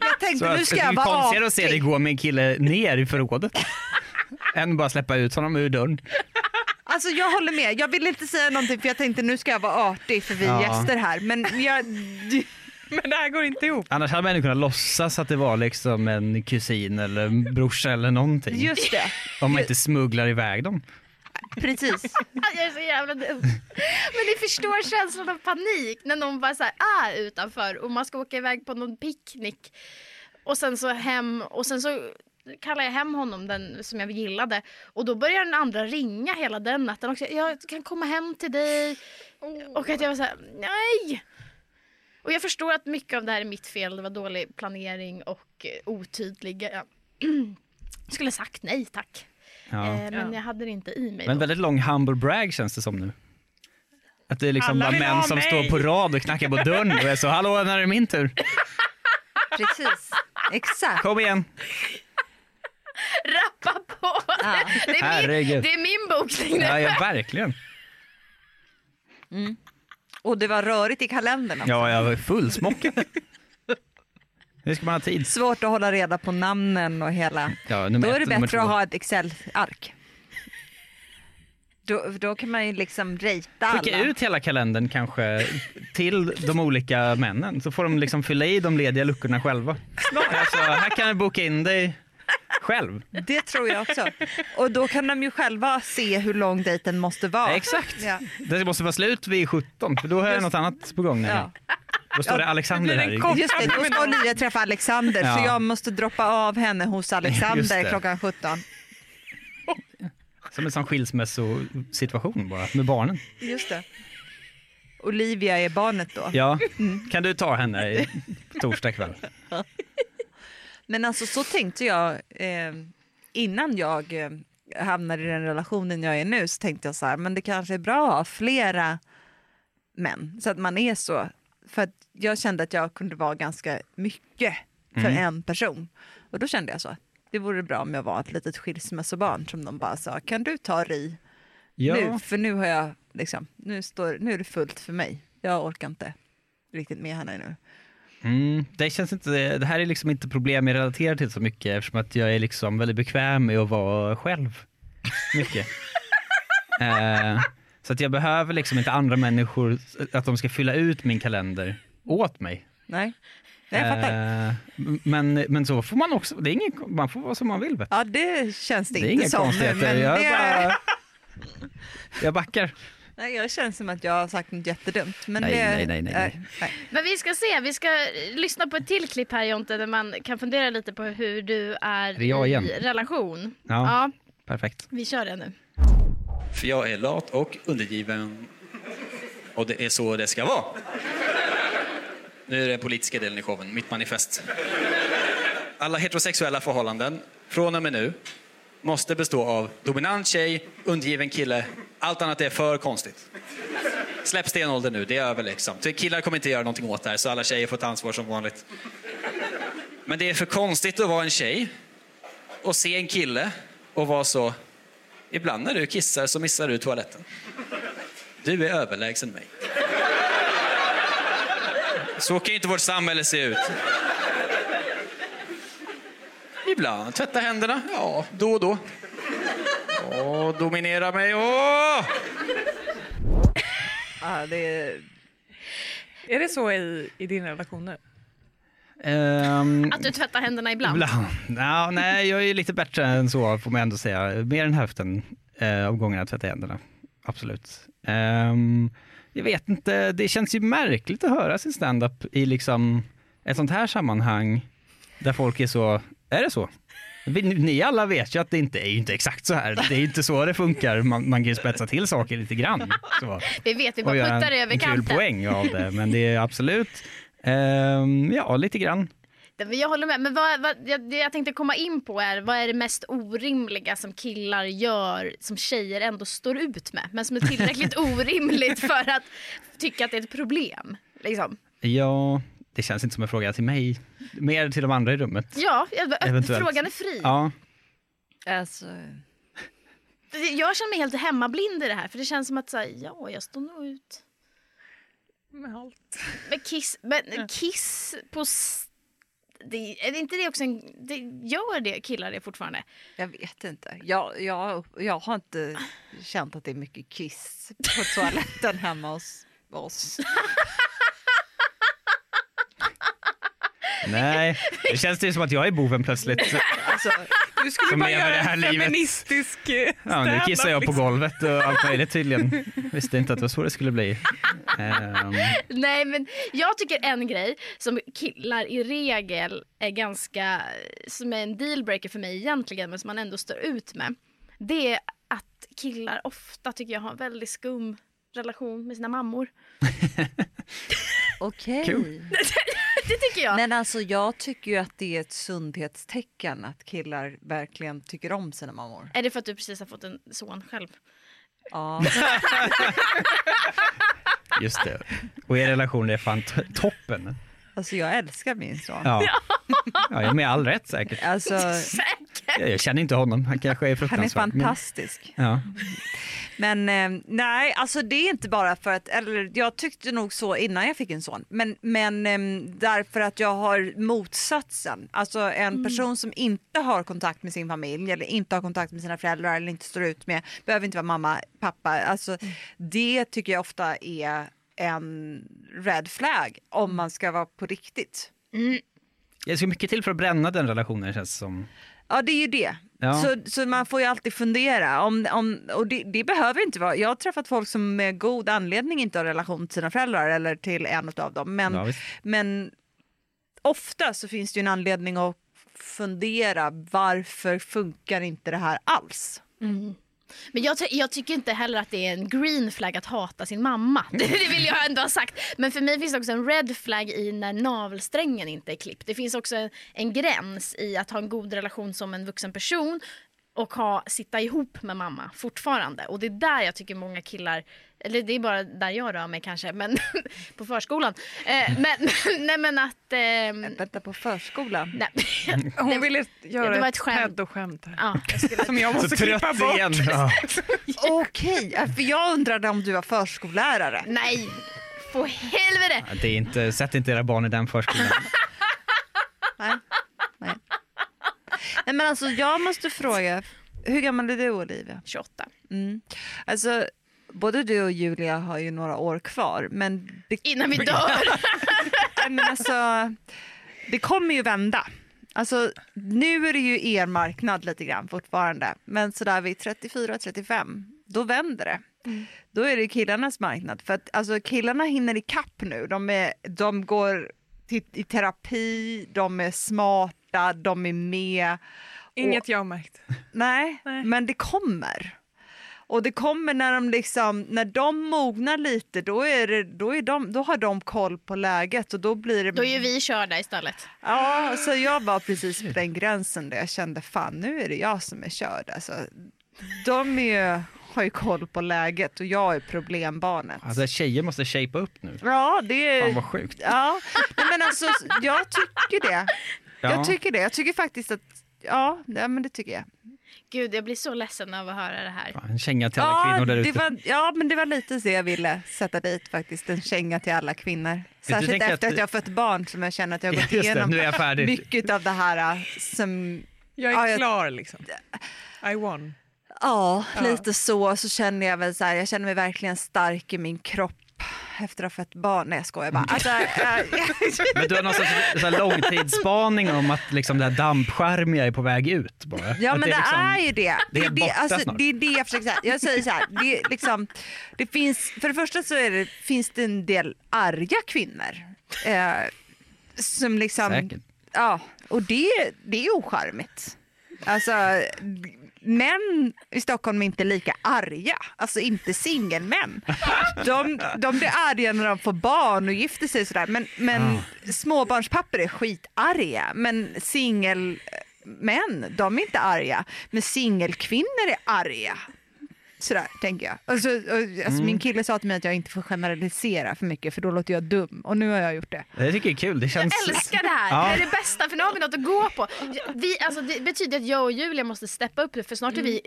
Speaker 1: jag
Speaker 3: Så
Speaker 1: tänkte
Speaker 3: att
Speaker 1: nu ska
Speaker 3: det är
Speaker 1: jag
Speaker 3: ju
Speaker 1: vara
Speaker 3: konstigare
Speaker 1: av.
Speaker 3: att se dig gå med en kille ner i förrådet. än bara släppa ut honom ur dörren.
Speaker 1: Alltså jag håller med. Jag ville inte säga någonting för jag tänkte nu ska jag vara artig för vi är
Speaker 3: Ja.
Speaker 1: gäster här. Men jag...
Speaker 4: Men det här går inte ihop.
Speaker 3: Annars hade man ju kunnat låtsas att det var liksom en kusin eller en brorsa eller någonting.
Speaker 1: Just det.
Speaker 3: Om man inte smugglar iväg dem.
Speaker 1: Precis.
Speaker 2: Jag är så jävla dum. Men ni förstår känslan av panik när någon bara så här är utanför och man ska åka iväg på någon picknick. Och sen så hem och sen så kallar jag hem honom, den som jag gillade. Och då börjar den andra ringa hela den natten också. Jag kan komma hem till dig. Och att jag var så här, nej! Och jag förstår att mycket av det här är mitt fel. Det var dålig planering och eh, otydliga. Ja. Jag skulle ha sagt nej tack.
Speaker 3: Ja.
Speaker 2: Eh, men jag hade det inte i mig.
Speaker 3: Men
Speaker 2: då.
Speaker 3: väldigt lång humble brag känns det som nu. Att det är liksom
Speaker 4: Alla
Speaker 3: bara
Speaker 4: vill ha
Speaker 3: män som
Speaker 4: mig.
Speaker 3: står på rad och knackar på dörren och är så hallå när är det min tur?
Speaker 1: Precis, exakt.
Speaker 3: Kom igen!
Speaker 2: Rappa på!
Speaker 1: Ja.
Speaker 2: Det, är min,
Speaker 3: Herregud.
Speaker 2: det är min bokning nu.
Speaker 3: Ja, ja verkligen.
Speaker 1: Och det var rörigt i kalendern också.
Speaker 3: Ja, jag var fullsmockad. Hur ska man ha tid?
Speaker 1: Svårt att hålla reda på namnen och hela.
Speaker 3: Ja,
Speaker 1: Då
Speaker 3: nummer
Speaker 1: är det
Speaker 3: ett, nummer
Speaker 1: bättre att
Speaker 3: två.
Speaker 1: ha ett Excel-ark. Då, då kan man ju liksom rejta alla.
Speaker 3: Skicka ut hela kalendern kanske till de olika männen så får de liksom fylla i de lediga luckorna själva. Alltså, här kan du boka in dig själv.
Speaker 1: Det tror jag också. Och då kan de ju själva se hur lång dejten måste vara.
Speaker 3: Exakt.
Speaker 1: Ja.
Speaker 3: Det måste vara slut vid 17 för då har jag något annat på gång. Ja.
Speaker 1: Ja.
Speaker 3: Då står det Alexander
Speaker 4: det blir
Speaker 3: här.
Speaker 4: en
Speaker 3: i-
Speaker 4: kort-
Speaker 1: Just det, då ska Olivia träffa Alexander
Speaker 3: Ja.
Speaker 1: så jag måste droppa av henne hos
Speaker 3: Just
Speaker 1: Alexander
Speaker 3: det.
Speaker 1: klockan 17.
Speaker 3: Som en sån skilsmässosituation bara, med barnen.
Speaker 1: Just det. Olivia är barnet då.
Speaker 3: Ja, Mm. kan du ta henne i torsdag kväll?
Speaker 1: Men alltså så tänkte jag eh, innan jag eh, hamnade i den relationen jag är nu så tänkte jag så här, men det kanske är bra att ha flera män så att man är så. För att jag kände att jag kunde vara ganska mycket för en person och då kände jag så. Det vore bra om jag var ett litet skilsmässobarn som de bara sa, kan du ta Ri nu?
Speaker 3: Ja,
Speaker 1: För nu har jag liksom, nu, står, nu är det fullt för mig. Jag orkar inte riktigt med henne nu.
Speaker 3: mm, det känns inte, det här är liksom inte problem jag relaterar till så mycket eftersom att jag är liksom väldigt bekväm med att vara själv. Mycket. eh, så att jag behöver liksom inte andra människor, att de ska fylla ut min kalender åt mig.
Speaker 1: Nej, Nej, jag fattar.
Speaker 3: Eh, men, men så får man också, det är ingen, man får vara som man vill. Vet.
Speaker 1: Ja, det känns det,
Speaker 3: Det är
Speaker 1: inte
Speaker 3: inga
Speaker 1: som. nu,
Speaker 3: konstigheter,
Speaker 1: Men
Speaker 3: jag
Speaker 1: det,
Speaker 3: bara... Jag backar.
Speaker 1: nej, jag känns som att jag har sagt något jättedumt. Men
Speaker 3: Nej,
Speaker 1: det,
Speaker 3: nej, nej, nej, nej.
Speaker 2: Men vi ska se, vi ska eh, lyssna på ett till klipp här Jonte där man kan fundera lite på hur du är
Speaker 3: det jag igen?
Speaker 2: i relation.
Speaker 3: Ja.
Speaker 2: ja,
Speaker 3: Perfekt.
Speaker 2: vi kör det nu.
Speaker 6: För jag är lat och undergiven. Och det är så det ska vara. Nu är det den politiska delen i showen, mitt manifest. Alla heterosexuella förhållanden från och med nu måste bestå av dominant tjej, undergiven kille. Allt annat är för konstigt. Släpp stenåldern nu, det är över liksom. Killar kommer inte göra någonting åt det här så alla tjejer får ta ansvar som vanligt. Men det är för konstigt att vara en tjej och se en kille och vara så Ibland när du kissar så missar du toaletten. Du är överlägsen mig. Så kan ju inte vårt samhälle se ut. Ibland. Tvätta händerna. Ja, då och då. Åh, dominera mig. Åh!
Speaker 1: Ja, det är,
Speaker 4: Är det så i, i din relation nu?
Speaker 3: Ehm,
Speaker 2: Att du tvättar händerna ibland.
Speaker 3: Ibland. Ja, nej, jag är lite bättre än så får man ändå säga. Mer än hälften eh, av gångerna tvättar jag händerna. Absolut. Ehm, jag vet inte, det känns ju märkligt att höra sin standup i liksom ett sånt här sammanhang där folk är så, är det så? Vi- Ni alla vet ju att det inte är ju inte exakt så här. Det är ju inte så det funkar. Man, man kan ju spetsa till saker lite grann. Så
Speaker 2: Vi vet, vi
Speaker 3: och
Speaker 2: bara
Speaker 3: göra
Speaker 2: puttar
Speaker 3: en,
Speaker 2: över
Speaker 3: en kul
Speaker 2: kanten.
Speaker 3: poäng av det. Men det är absolut, ehm, ja lite grann.
Speaker 2: Det- men Jag håller med. Men vad, vad, jag, det jag tänkte komma in på är vad är det mest orimliga som killar gör som tjejer ändå står ut med men som är tillräckligt orimligt för att tycka att det är ett problem. Liksom.
Speaker 3: Ja, det känns inte som en fråga till mig. Mer till de andra i rummet.
Speaker 2: Ja, jag, bara-
Speaker 3: Eventuellt.
Speaker 2: frågan är fri.
Speaker 3: Ja,
Speaker 1: alltså,
Speaker 2: Jag känner mig helt hemmablind i det här för det känns som att så här, ja, jag står nog ut.
Speaker 4: Med allt.
Speaker 2: Men kiss, men kiss på... s- Det, är det inte det också en... Det, gör det killar det fortfarande?
Speaker 1: jag vet inte. Jag, jag, jag har inte känt att det är mycket kiss på toaletten hemma hos oss.
Speaker 3: nej. Det känns det som att jag är boven plötsligt.
Speaker 1: Alltså,
Speaker 4: Du skulle
Speaker 3: Som
Speaker 4: bara
Speaker 3: lever det
Speaker 4: göra
Speaker 3: här
Speaker 4: en
Speaker 3: livet.
Speaker 4: feministisk eh,
Speaker 3: Ja, nu
Speaker 4: stand-up,
Speaker 3: kissar jag på
Speaker 4: liksom.
Speaker 3: golvet och allt möjligt tydligen. Visste inte att det var så det skulle bli. Ehm,
Speaker 2: Nej, men jag tycker en grej som killar i regel är ganska... Som är en dealbreaker för mig egentligen, men som man ändå står ut med. Det är att killar ofta tycker jag har en väldigt skum relation med sina mammor.
Speaker 1: Okej.
Speaker 3: Kul.
Speaker 2: Det tycker jag.
Speaker 1: Men alltså jag tycker ju att det är ett sundhetstecken att killar verkligen tycker om sina mammor.
Speaker 2: Är det för att du precis har fått en son själv?
Speaker 1: Ja.
Speaker 3: Just det. Och er relation är fan t- toppen.
Speaker 1: Alltså jag älskar min son.
Speaker 3: Ja. ja, jag är med all rätt säkert.
Speaker 1: Alltså,
Speaker 3: Jag jag känner inte honom, han kanske är
Speaker 1: han är
Speaker 3: fruktansvärd.
Speaker 1: fantastisk.
Speaker 3: Men, ja.
Speaker 1: Men eh, nej, alltså det är inte bara för att, eller jag tyckte nog så innan jag fick en son, men, men eh, därför att jag har motsatsen. Alltså en person som inte har kontakt med sin familj eller inte har kontakt med sina föräldrar eller inte står ut med, behöver inte vara mamma, pappa, alltså det tycker jag ofta är en red flag om man ska vara på riktigt.
Speaker 3: Det ska mycket till för att bränna den relationen känns det som.
Speaker 1: Ja det är ju det.
Speaker 3: Ja.
Speaker 1: Så, så man får ju alltid fundera. Om, om, och det, det behöver inte vara. Jag har träffat folk som med god anledning inte har relation till sina föräldrar eller till en av dem. Men,
Speaker 3: Ja, visst.
Speaker 1: men ofta så finns det ju en anledning att fundera varför funkar inte det här alls?
Speaker 2: Men jag, ty- jag tycker inte heller att det är en green flag att hata sin mamma. Det vill jag ändå ha sagt. Men för mig finns det också en red flag i när navelsträngen inte är klippt. Det finns också en, en gräns i att ha en god relation som en vuxen person och ha, sitta ihop med mamma fortfarande. Och det är där jag tycker många killar, eller det är bara där jag rör mig kanske, men på förskolan. Eh, men, nej men att... ehm,
Speaker 1: Vänta på förskolan.
Speaker 2: nej.
Speaker 4: Hon ville göra
Speaker 2: det var ett
Speaker 4: ett
Speaker 2: skämt.
Speaker 4: pedo-skämt här.
Speaker 2: Ja.
Speaker 4: Som jag måste klippa bort.
Speaker 3: Ja.
Speaker 1: Okej, för jag undrade om du var förskollärare.
Speaker 2: Nej, för helvete!
Speaker 3: Det är inte, sätt inte era barn i den förskolan.
Speaker 1: Nej. Nej. Nej, men alltså jag måste fråga, hur gammal är du Olivia?
Speaker 2: 28.
Speaker 1: Mm. Alltså, både du och Julia har ju några år kvar, men det,
Speaker 2: Innan vi dör!
Speaker 1: nej, men alltså, det kommer ju vända. Alltså, nu är det ju er marknad lite grann fortfarande, men sådär vid 34-35, då vänder det. Då är det ju killarnas marknad, för att alltså, killarna hinner ikapp nu. De, är, de går till, i terapi, de är smarta, de är med.
Speaker 4: Inget jag har märkt.
Speaker 1: Nej,
Speaker 4: Nej.
Speaker 1: men det kommer. Och det kommer när de, liksom, när de mognar lite, då, är det, då, är de, då har de koll på läget och då blir det...
Speaker 2: Då är ju vi körda istället.
Speaker 1: Ja, så jag var precis på den gränsen där jag kände fan nu är det jag som är körd. Alltså, de är ju, har ju koll på läget och jag är problembarnet.
Speaker 3: Alltså tjejer måste shapea upp nu.
Speaker 1: Ja, det är...
Speaker 3: Fan vad sjukt.
Speaker 1: Ja, Nej, men alltså jag tycker det.
Speaker 3: Ja.
Speaker 1: Jag tycker det. Jag tycker faktiskt att, ja, ja men det tycker jag.
Speaker 2: Gud, jag blir så ledsen av att höra det här.
Speaker 3: Fan, En känga till alla kvinnor där
Speaker 1: det
Speaker 3: ute.
Speaker 1: var, ja, men det var lite så jag ville sätta dit faktiskt. En känga till alla kvinnor. Särskilt
Speaker 3: tänker
Speaker 1: efter
Speaker 3: att
Speaker 1: att,
Speaker 3: det-
Speaker 1: jag har fått barn som jag känner att jag har gått
Speaker 3: Just det,
Speaker 1: igenom
Speaker 3: nu är jag färdig.
Speaker 1: mycket av det här äh, som
Speaker 4: Jag är
Speaker 1: Ja, jag-
Speaker 4: klar liksom. I won.
Speaker 1: Ja, lite så. Så känner jag väl så här, jag känner mig verligen stark i min kropp efter att ha fött barn. Nej jag skojar bara. Alltså, äh,
Speaker 3: Men du har någon sorts så här långtidsspaning om att liksom det här dampskärmiga är på väg ut bara.
Speaker 1: ja
Speaker 3: Att
Speaker 1: men det,
Speaker 3: liksom-
Speaker 1: är ju det.
Speaker 3: det
Speaker 1: det,
Speaker 3: är borta
Speaker 1: alltså,
Speaker 3: snart.
Speaker 1: det är det jag försöker säga. Jag säger så här, det, är liksom, det finns, för det första så är det, finns det en del arga kvinnor. Eh, som liksom,
Speaker 3: Säkert.
Speaker 1: Ja, och det, det är ocharmigt. Alltså, män i Stockholm är inte lika arga, alltså inte singelmän. De, de blir arga när de får barn och gifter sig och sådär, men, men småbarnspappor är skitarga, men singelmän, de är inte arga, men singelkvinnor är arga. Sådär tänker jag. Alltså, och, alltså, Min kille sa till mig att jag inte får generalisera för mycket för då låter jag dum och nu har jag gjort det.
Speaker 3: Det tycker jag är kul. Det
Speaker 2: Jag
Speaker 3: känns...
Speaker 2: älskar det här!
Speaker 3: Ja.
Speaker 2: Det är det bästa, för nu har vi något att gå på. Vi, alltså, det betyder att jag och Julia måste steppa upp nu, för snart är vi
Speaker 3: Mm.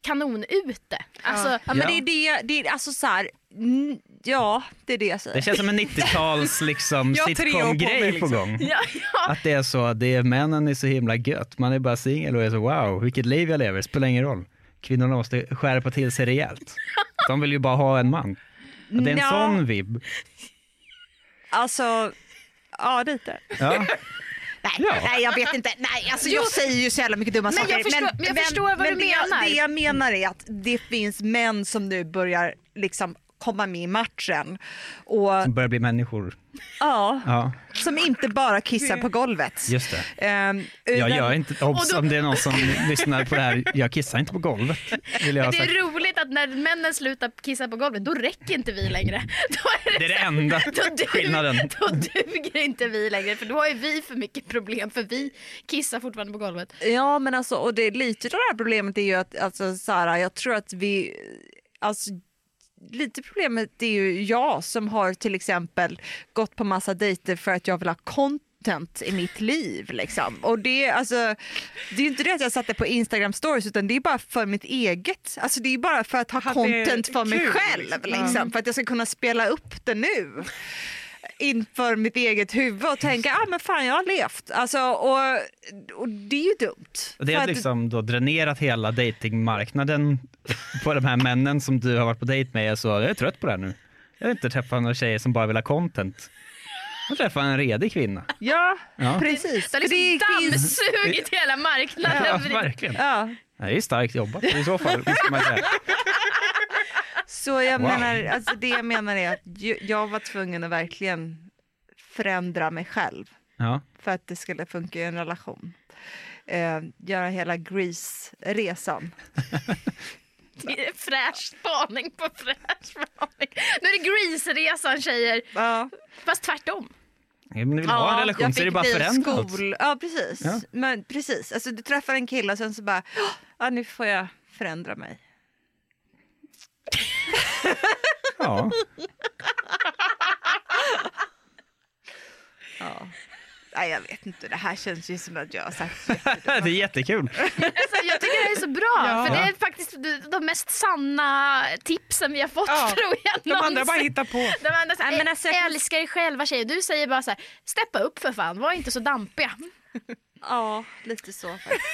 Speaker 2: kanon ute. Alltså,
Speaker 1: Ja, men det är det, det är alltså så här, mm, ja det är det jag säger.
Speaker 3: Det känns som en 90-tals liksom,
Speaker 4: Jag har tre år på mig,
Speaker 3: sitcom-grej på
Speaker 4: liksom.
Speaker 3: gång.
Speaker 2: ja, ja.
Speaker 3: Att det är så, det är männen är så himla gött, man är bara singel och är så wow, vilket liv jag lever, spelar ingen roll. Kvinnorna måste skärpa till sig rejält. De vill ju bara ha en man. Att det är en
Speaker 1: Nja.
Speaker 3: sån vibb.
Speaker 1: Alltså, ja lite.
Speaker 3: Ja.
Speaker 1: Nej,
Speaker 3: Ja.
Speaker 1: nej jag vet inte, nej alltså jag säger ju så jävla mycket dumma
Speaker 2: Men jag
Speaker 1: saker.
Speaker 2: förstår- men jag förstår vad du
Speaker 1: men det
Speaker 2: menar.
Speaker 1: Jag, det jag menar är att det finns män som nu börjar liksom komma med i matchen och
Speaker 3: De börjar bli människor.
Speaker 1: ja,
Speaker 3: Ja.
Speaker 1: som inte bara kissar på golvet.
Speaker 3: Just det.
Speaker 1: Ehm,
Speaker 3: Jag
Speaker 1: utan-
Speaker 3: gör inte, obs,
Speaker 2: Och då-
Speaker 3: om det är någon som lyssnar på det här, jag kissar inte på golvet. Vill jag ha
Speaker 2: Men det
Speaker 3: sagt.
Speaker 2: är roligt att när männen slutar kissa på golvet, då räcker inte vi längre. Då är
Speaker 3: Det är det
Speaker 2: så här-
Speaker 3: enda
Speaker 2: då du-
Speaker 3: skillnaden.
Speaker 2: Då duger inte vi längre, för då har ju vi för mycket problem, för vi kissar fortfarande på golvet.
Speaker 1: Ja, men alltså, och det, lite av det här problemet är ju att alltså, så här, jag tror att vi... Alltså, lite problemet är ju jag som har till exempel gått på massa dejter för att jag vill ha content i mitt liv. Liksom. Och det, alltså, det är ju inte det att jag satte på Instagram stories utan det är bara för mitt eget. Alltså, det är bara för att ha
Speaker 4: Att det är
Speaker 1: content för mig
Speaker 4: kul,
Speaker 1: själv.
Speaker 4: liksom.
Speaker 1: Liksom, För att jag ska kunna spela upp det nu inför mitt eget huvud och tänka ah, men fan jag har levt. Alltså, och, och det är ju dumt.
Speaker 3: Och Det
Speaker 1: För
Speaker 3: har
Speaker 1: att-
Speaker 3: liksom då dränerat hela datingmarknaden på de här männen som du har varit på dejt med. Så jag är trött på det här nu. Jag vill inte träffa några tjejer som bara vill ha content. Jag träffar en redig kvinna.
Speaker 1: Ja,
Speaker 3: Ja.
Speaker 1: precis.
Speaker 2: Det har
Speaker 1: För
Speaker 2: liksom
Speaker 1: finns-
Speaker 2: dammsugit hela marknaden.
Speaker 3: Ja, verkligen.
Speaker 1: Ja,
Speaker 3: Det är starkt jobbat i så fall. måste man säga.
Speaker 1: så jag
Speaker 3: Wow.
Speaker 1: menar, alltså det jag menar är att ju- jag var tvungen att verkligen förändra mig själv
Speaker 3: Ja.
Speaker 1: för att det skulle funka i en relation. Eh, göra hela Grease-resan.
Speaker 2: Det är Fräsch spaning på fräsch spaning. Nu är det Grease-resan tjejer,
Speaker 1: Ja.
Speaker 2: fast tvärtom.
Speaker 3: Men vill du ha en relation
Speaker 1: jag
Speaker 3: så är det
Speaker 1: fick
Speaker 3: bara
Speaker 1: bli
Speaker 3: förändra något.
Speaker 1: skol... Ja, precis.
Speaker 3: Ja.
Speaker 1: Men, precis. Alltså, du träffar en kille och sen så bara, "Åh, ja, nu får jag förändra mig.
Speaker 3: Ja.
Speaker 1: Ja. Nej, jag vet inte, det här känns ju som att jag har sagt
Speaker 3: Det är jättekul.
Speaker 2: Alltså, jag tycker det här är så bra,
Speaker 4: Ja.
Speaker 2: för det
Speaker 3: Ja.
Speaker 2: är faktiskt de- de mest sanna tipsen vi har fått
Speaker 4: Ja.
Speaker 2: tror jag.
Speaker 4: De andra
Speaker 2: någonsin.
Speaker 4: bara hittar på.
Speaker 2: De andra så eh, här,
Speaker 1: Nej, men alltså, jag-
Speaker 2: älskar er själva tjejer. Du säger bara så här, steppa upp för fan, var inte så dampiga.
Speaker 1: Ja, lite så faktiskt.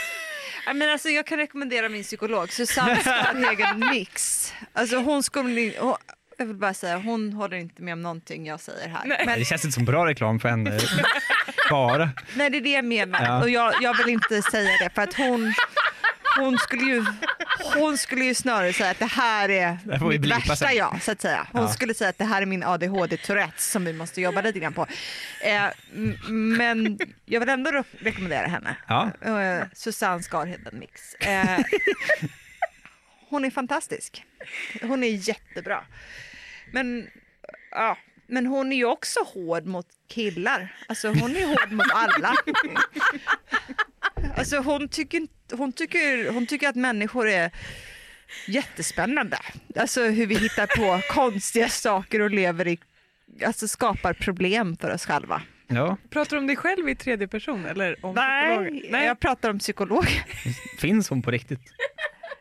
Speaker 1: Ja, Men alltså, jag kan rekommendera min psykolog, Susanne ska ha en egen mix. Alltså, hon skulle, hon, jag vill bara säga, hon håller inte med om någonting jag säger här. Nej. Men
Speaker 3: Det känns inte som bra reklam för henne. Bara.
Speaker 1: nej, det är det jag menar.
Speaker 3: Ja.
Speaker 1: Och jag, jag vill inte säga det för att hon, hon, skulle ju, hon skulle ju snarare säga att det här är
Speaker 3: här får vi
Speaker 1: mitt
Speaker 3: blipa
Speaker 1: värsta
Speaker 3: sen.
Speaker 1: jag. Så att säga. Hon
Speaker 3: Ja.
Speaker 1: skulle säga att det här är min ADHD-tourettes som vi måste jobba lite grann på. Eh, m- men jag vill ändå re- rekommendera henne.
Speaker 3: Ja.
Speaker 1: Eh, Susanne Skarheden Mix. Eh, hon är fantastisk. Hon är jättebra. Men, ja. Men hon är ju också hård mot killar. Alltså hon är hård mot alla. Alltså hon tycker, inte- hon tycker, hon tycker att människor är jättespännande. Alltså hur vi hittar på konstiga saker och lever i, alltså skapar problem för oss själva.
Speaker 3: Ja.
Speaker 4: Pratar du om dig själv i tredje person eller om psykologen?
Speaker 1: Nej.
Speaker 4: Nej,
Speaker 1: jag pratar om psykolog.
Speaker 3: Finns hon på riktigt?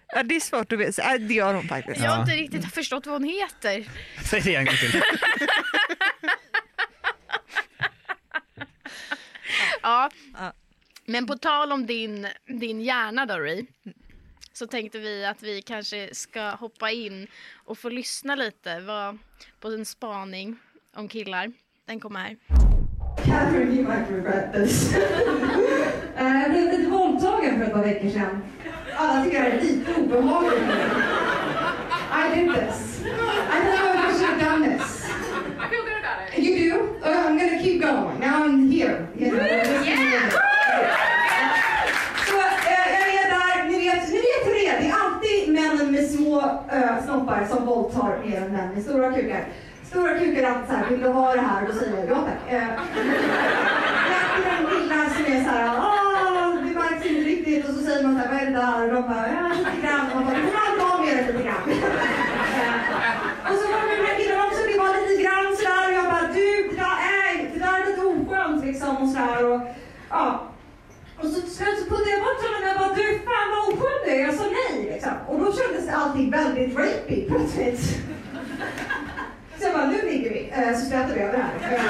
Speaker 1: Ja, det är svårt att veta. Ja, Det gör hon faktiskt.
Speaker 2: Jag har inte riktigt förstått vad hon heter.
Speaker 3: Säg det en gång till.
Speaker 2: Ja.
Speaker 1: Ja.
Speaker 2: Men på tal om din, din hjärna då Ray, så tänkte vi att vi kanske ska hoppa in och få lyssna lite vad, på din spaning om killar. Den kommer här.
Speaker 7: Catherine, you might regret this. Eh, Jag blev lite våldtagen för ett par veckor sedan. Alla tycker jag är lite obehaglig. I did this. I never I should have done this. You do? Oh, I'm gonna keep going. Now I'm here. You know, just- Så, eh, jag är där. Ni vet, ni vet hur det är. Det är alltid männen med små eh, snoppar som våldtar mer än män med stora kukar. Stora kukar är alltid så här, vill du ha det här? Och då säger jag ja tack. Eh, Vackra killar som är så här, ah, det märks inte riktigt. Och så säger man så här, vad är det där? Och de bara, ja, lite grann. Och man bara, du får allt av med det lite grann. Eh, och så var det med den här killen också, det var lite grann så där. Och jag bara, du, det där är, det där är lite oskönt liksom. Och så här, och, ja. Och så till slut så puttade jag bort honom och jag bara, du fan vad oskön du är. Jag sa nej liksom. Och då kändes allting väldigt rapey plötsligt. Så jag bara, nu ligger vi. Eh, Så stöter vi över här. Eh,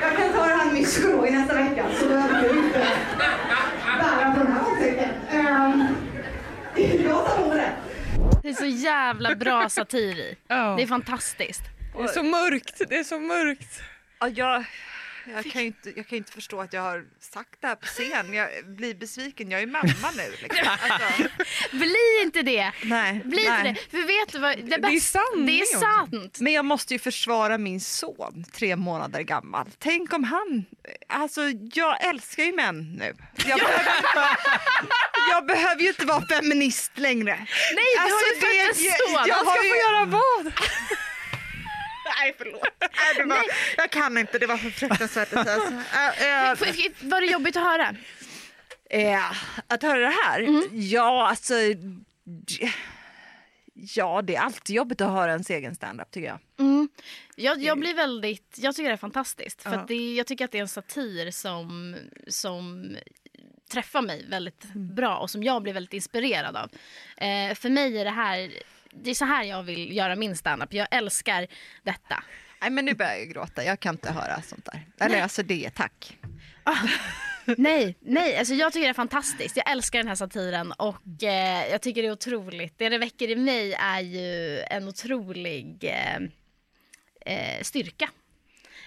Speaker 7: jag kan ta det här med min psykolog i nästa vecka så behöver du inte bära på den här åsikten. Ehm, Jag tar på det.
Speaker 2: Det är så jävla bra satir i.
Speaker 4: Ja.
Speaker 2: Det är fantastiskt.
Speaker 4: det är så mörkt. Det är så mörkt.
Speaker 1: Ja, jag, Jag kan, ju inte, jag kan ju inte förstå att jag har sagt det här på scen. Jag blir besviken, jag är mamma nu. Liksom. Alltså,
Speaker 2: Bli inte det!
Speaker 1: nej,
Speaker 2: Bli
Speaker 1: nej.
Speaker 2: inte det. För vet du vad? Det,
Speaker 1: Det är
Speaker 2: bästa-
Speaker 1: sanning
Speaker 2: Det är
Speaker 1: också.
Speaker 2: sant.
Speaker 1: Men jag måste ju försvara min son, tre månader gammal. Tänk om han... Alltså, jag älskar ju män nu. Jag behöver, inte, jag behöver ju inte vara feminist längre. Alltså,
Speaker 2: Nej, du har ju fött en son.
Speaker 1: jag, jag
Speaker 2: Han
Speaker 1: har
Speaker 2: ska
Speaker 1: ju...
Speaker 2: få
Speaker 1: göra vad?
Speaker 2: Nej, förlåt.
Speaker 1: Nej, det var, Jag kan inte, det var så fruktansvärt att säga så. Äh, äh,
Speaker 2: F- Var det jobbigt att höra?
Speaker 1: Eh, att höra det här?
Speaker 2: Mm.
Speaker 1: Ja, alltså... d- Ja, det är alltid jobbigt att höra ens egen standup tycker jag.
Speaker 2: Jag, jag blir väldigt, jag tycker det är fantastiskt. För
Speaker 1: Ja.
Speaker 2: att det, jag tycker att det är en satir som, som träffar mig väldigt
Speaker 1: Mm.
Speaker 2: bra och som jag blir väldigt inspirerad av. Eh, för mig är det här, det är så här jag vill göra min standup. Jag älskar detta.
Speaker 1: Nej, men nu börjar jag gråta. Jag kan inte höra sånt där. Eller alltså det, tack.
Speaker 2: Nej, nej, alltså jag tycker det är fantastiskt. Jag älskar den här satiren och eh, jag tycker det är otroligt. Det det väcker i mig är ju en otrolig eh, eh, styrka.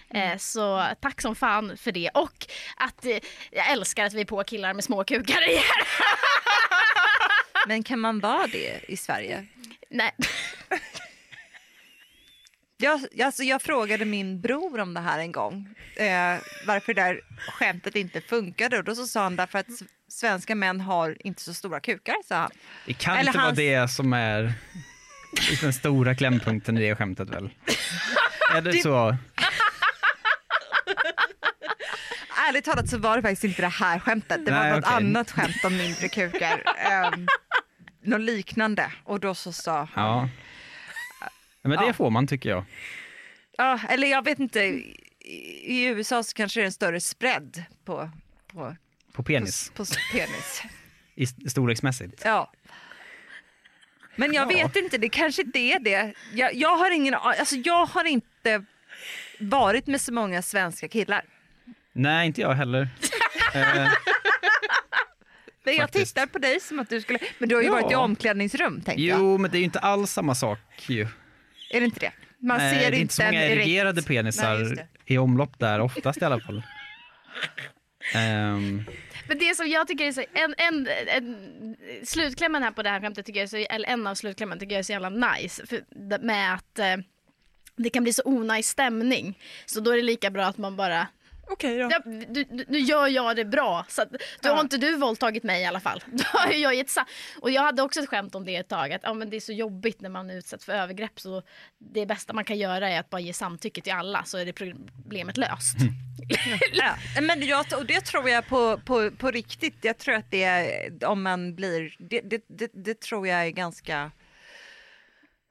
Speaker 2: Eh, så tack som fan för det. Och att eh, jag älskar att vi är på killar med små kukar igen.
Speaker 1: Men kan man vara det i Sverige?
Speaker 2: nej.
Speaker 1: Jag, alltså, jag frågade min bror om det här en gång, eh, varför det där skämtet inte funkade. Och då så sa han därför att s- svenska män har inte så stora kukar, sa han.
Speaker 3: Det kan
Speaker 1: Eller
Speaker 3: inte
Speaker 1: hans-
Speaker 3: vara det som är den stora klämpunkten i det skämtet väl? är det så?
Speaker 1: Ärligt talat så var det faktiskt inte det här skämtet. Det
Speaker 3: Nej,
Speaker 1: var något
Speaker 3: okej.
Speaker 1: annat skämt om mindre kukar. Um, något liknande. Och då så sa han,
Speaker 3: Ja. Men det
Speaker 1: Ja.
Speaker 3: får man tycker jag.
Speaker 1: ja, eller jag vet inte, i, i USA så kanske det är en större spread på, på,
Speaker 3: På
Speaker 1: på,
Speaker 3: penis,
Speaker 1: på penis.
Speaker 3: i s- storleksmässigt.
Speaker 1: Ja. Men jag vet inte, det kanske inte är det. Jag, jag, har ingen, a- alltså jag har inte varit med så många svenska killar.
Speaker 3: Nej, inte jag heller. Eh,
Speaker 1: Men jag
Speaker 3: Faktiskt.
Speaker 1: tittar på dig som att du skulle... Men du har ju
Speaker 3: Ja.
Speaker 1: varit i omklädningsrum, tänker jag.
Speaker 3: jo, men det är ju inte alls samma sak ju.
Speaker 1: Är det inte det? Man
Speaker 3: Nej,
Speaker 1: ser
Speaker 3: det är
Speaker 1: inte,
Speaker 3: inte så
Speaker 1: en
Speaker 3: många
Speaker 1: erekt-
Speaker 3: erigerade penisar
Speaker 1: Nej, just det.
Speaker 3: i omlopp där, oftast i alla fall. Ehm,
Speaker 2: Men det som jag tycker är så, en, en, en, slutklämmen här på det här skämtet, tycker jag är så, eller en av slutklämmen tycker jag är så jävla nice. För, det- med att eh, det kan bli så onajs stämning. Så då är det lika bra att man bara
Speaker 4: Okej då.
Speaker 2: Ja, du, du, nu gör jag det bra. Så att, då har inte du våldtagit mig i alla fall. Då har ju jag gett sa- och jag hade också ett skämt om det ett tag. Att, ja, men det är så jobbigt när man är utsatt för övergrepp. Så det bästa man kan göra är att bara ge samtycke till alla så är det problemet löst.
Speaker 1: Ja, men jag, och det tror jag på, på, på riktigt. Jag tror att det är- eh, om man blir... Det, det, det, det tror jag är ganska...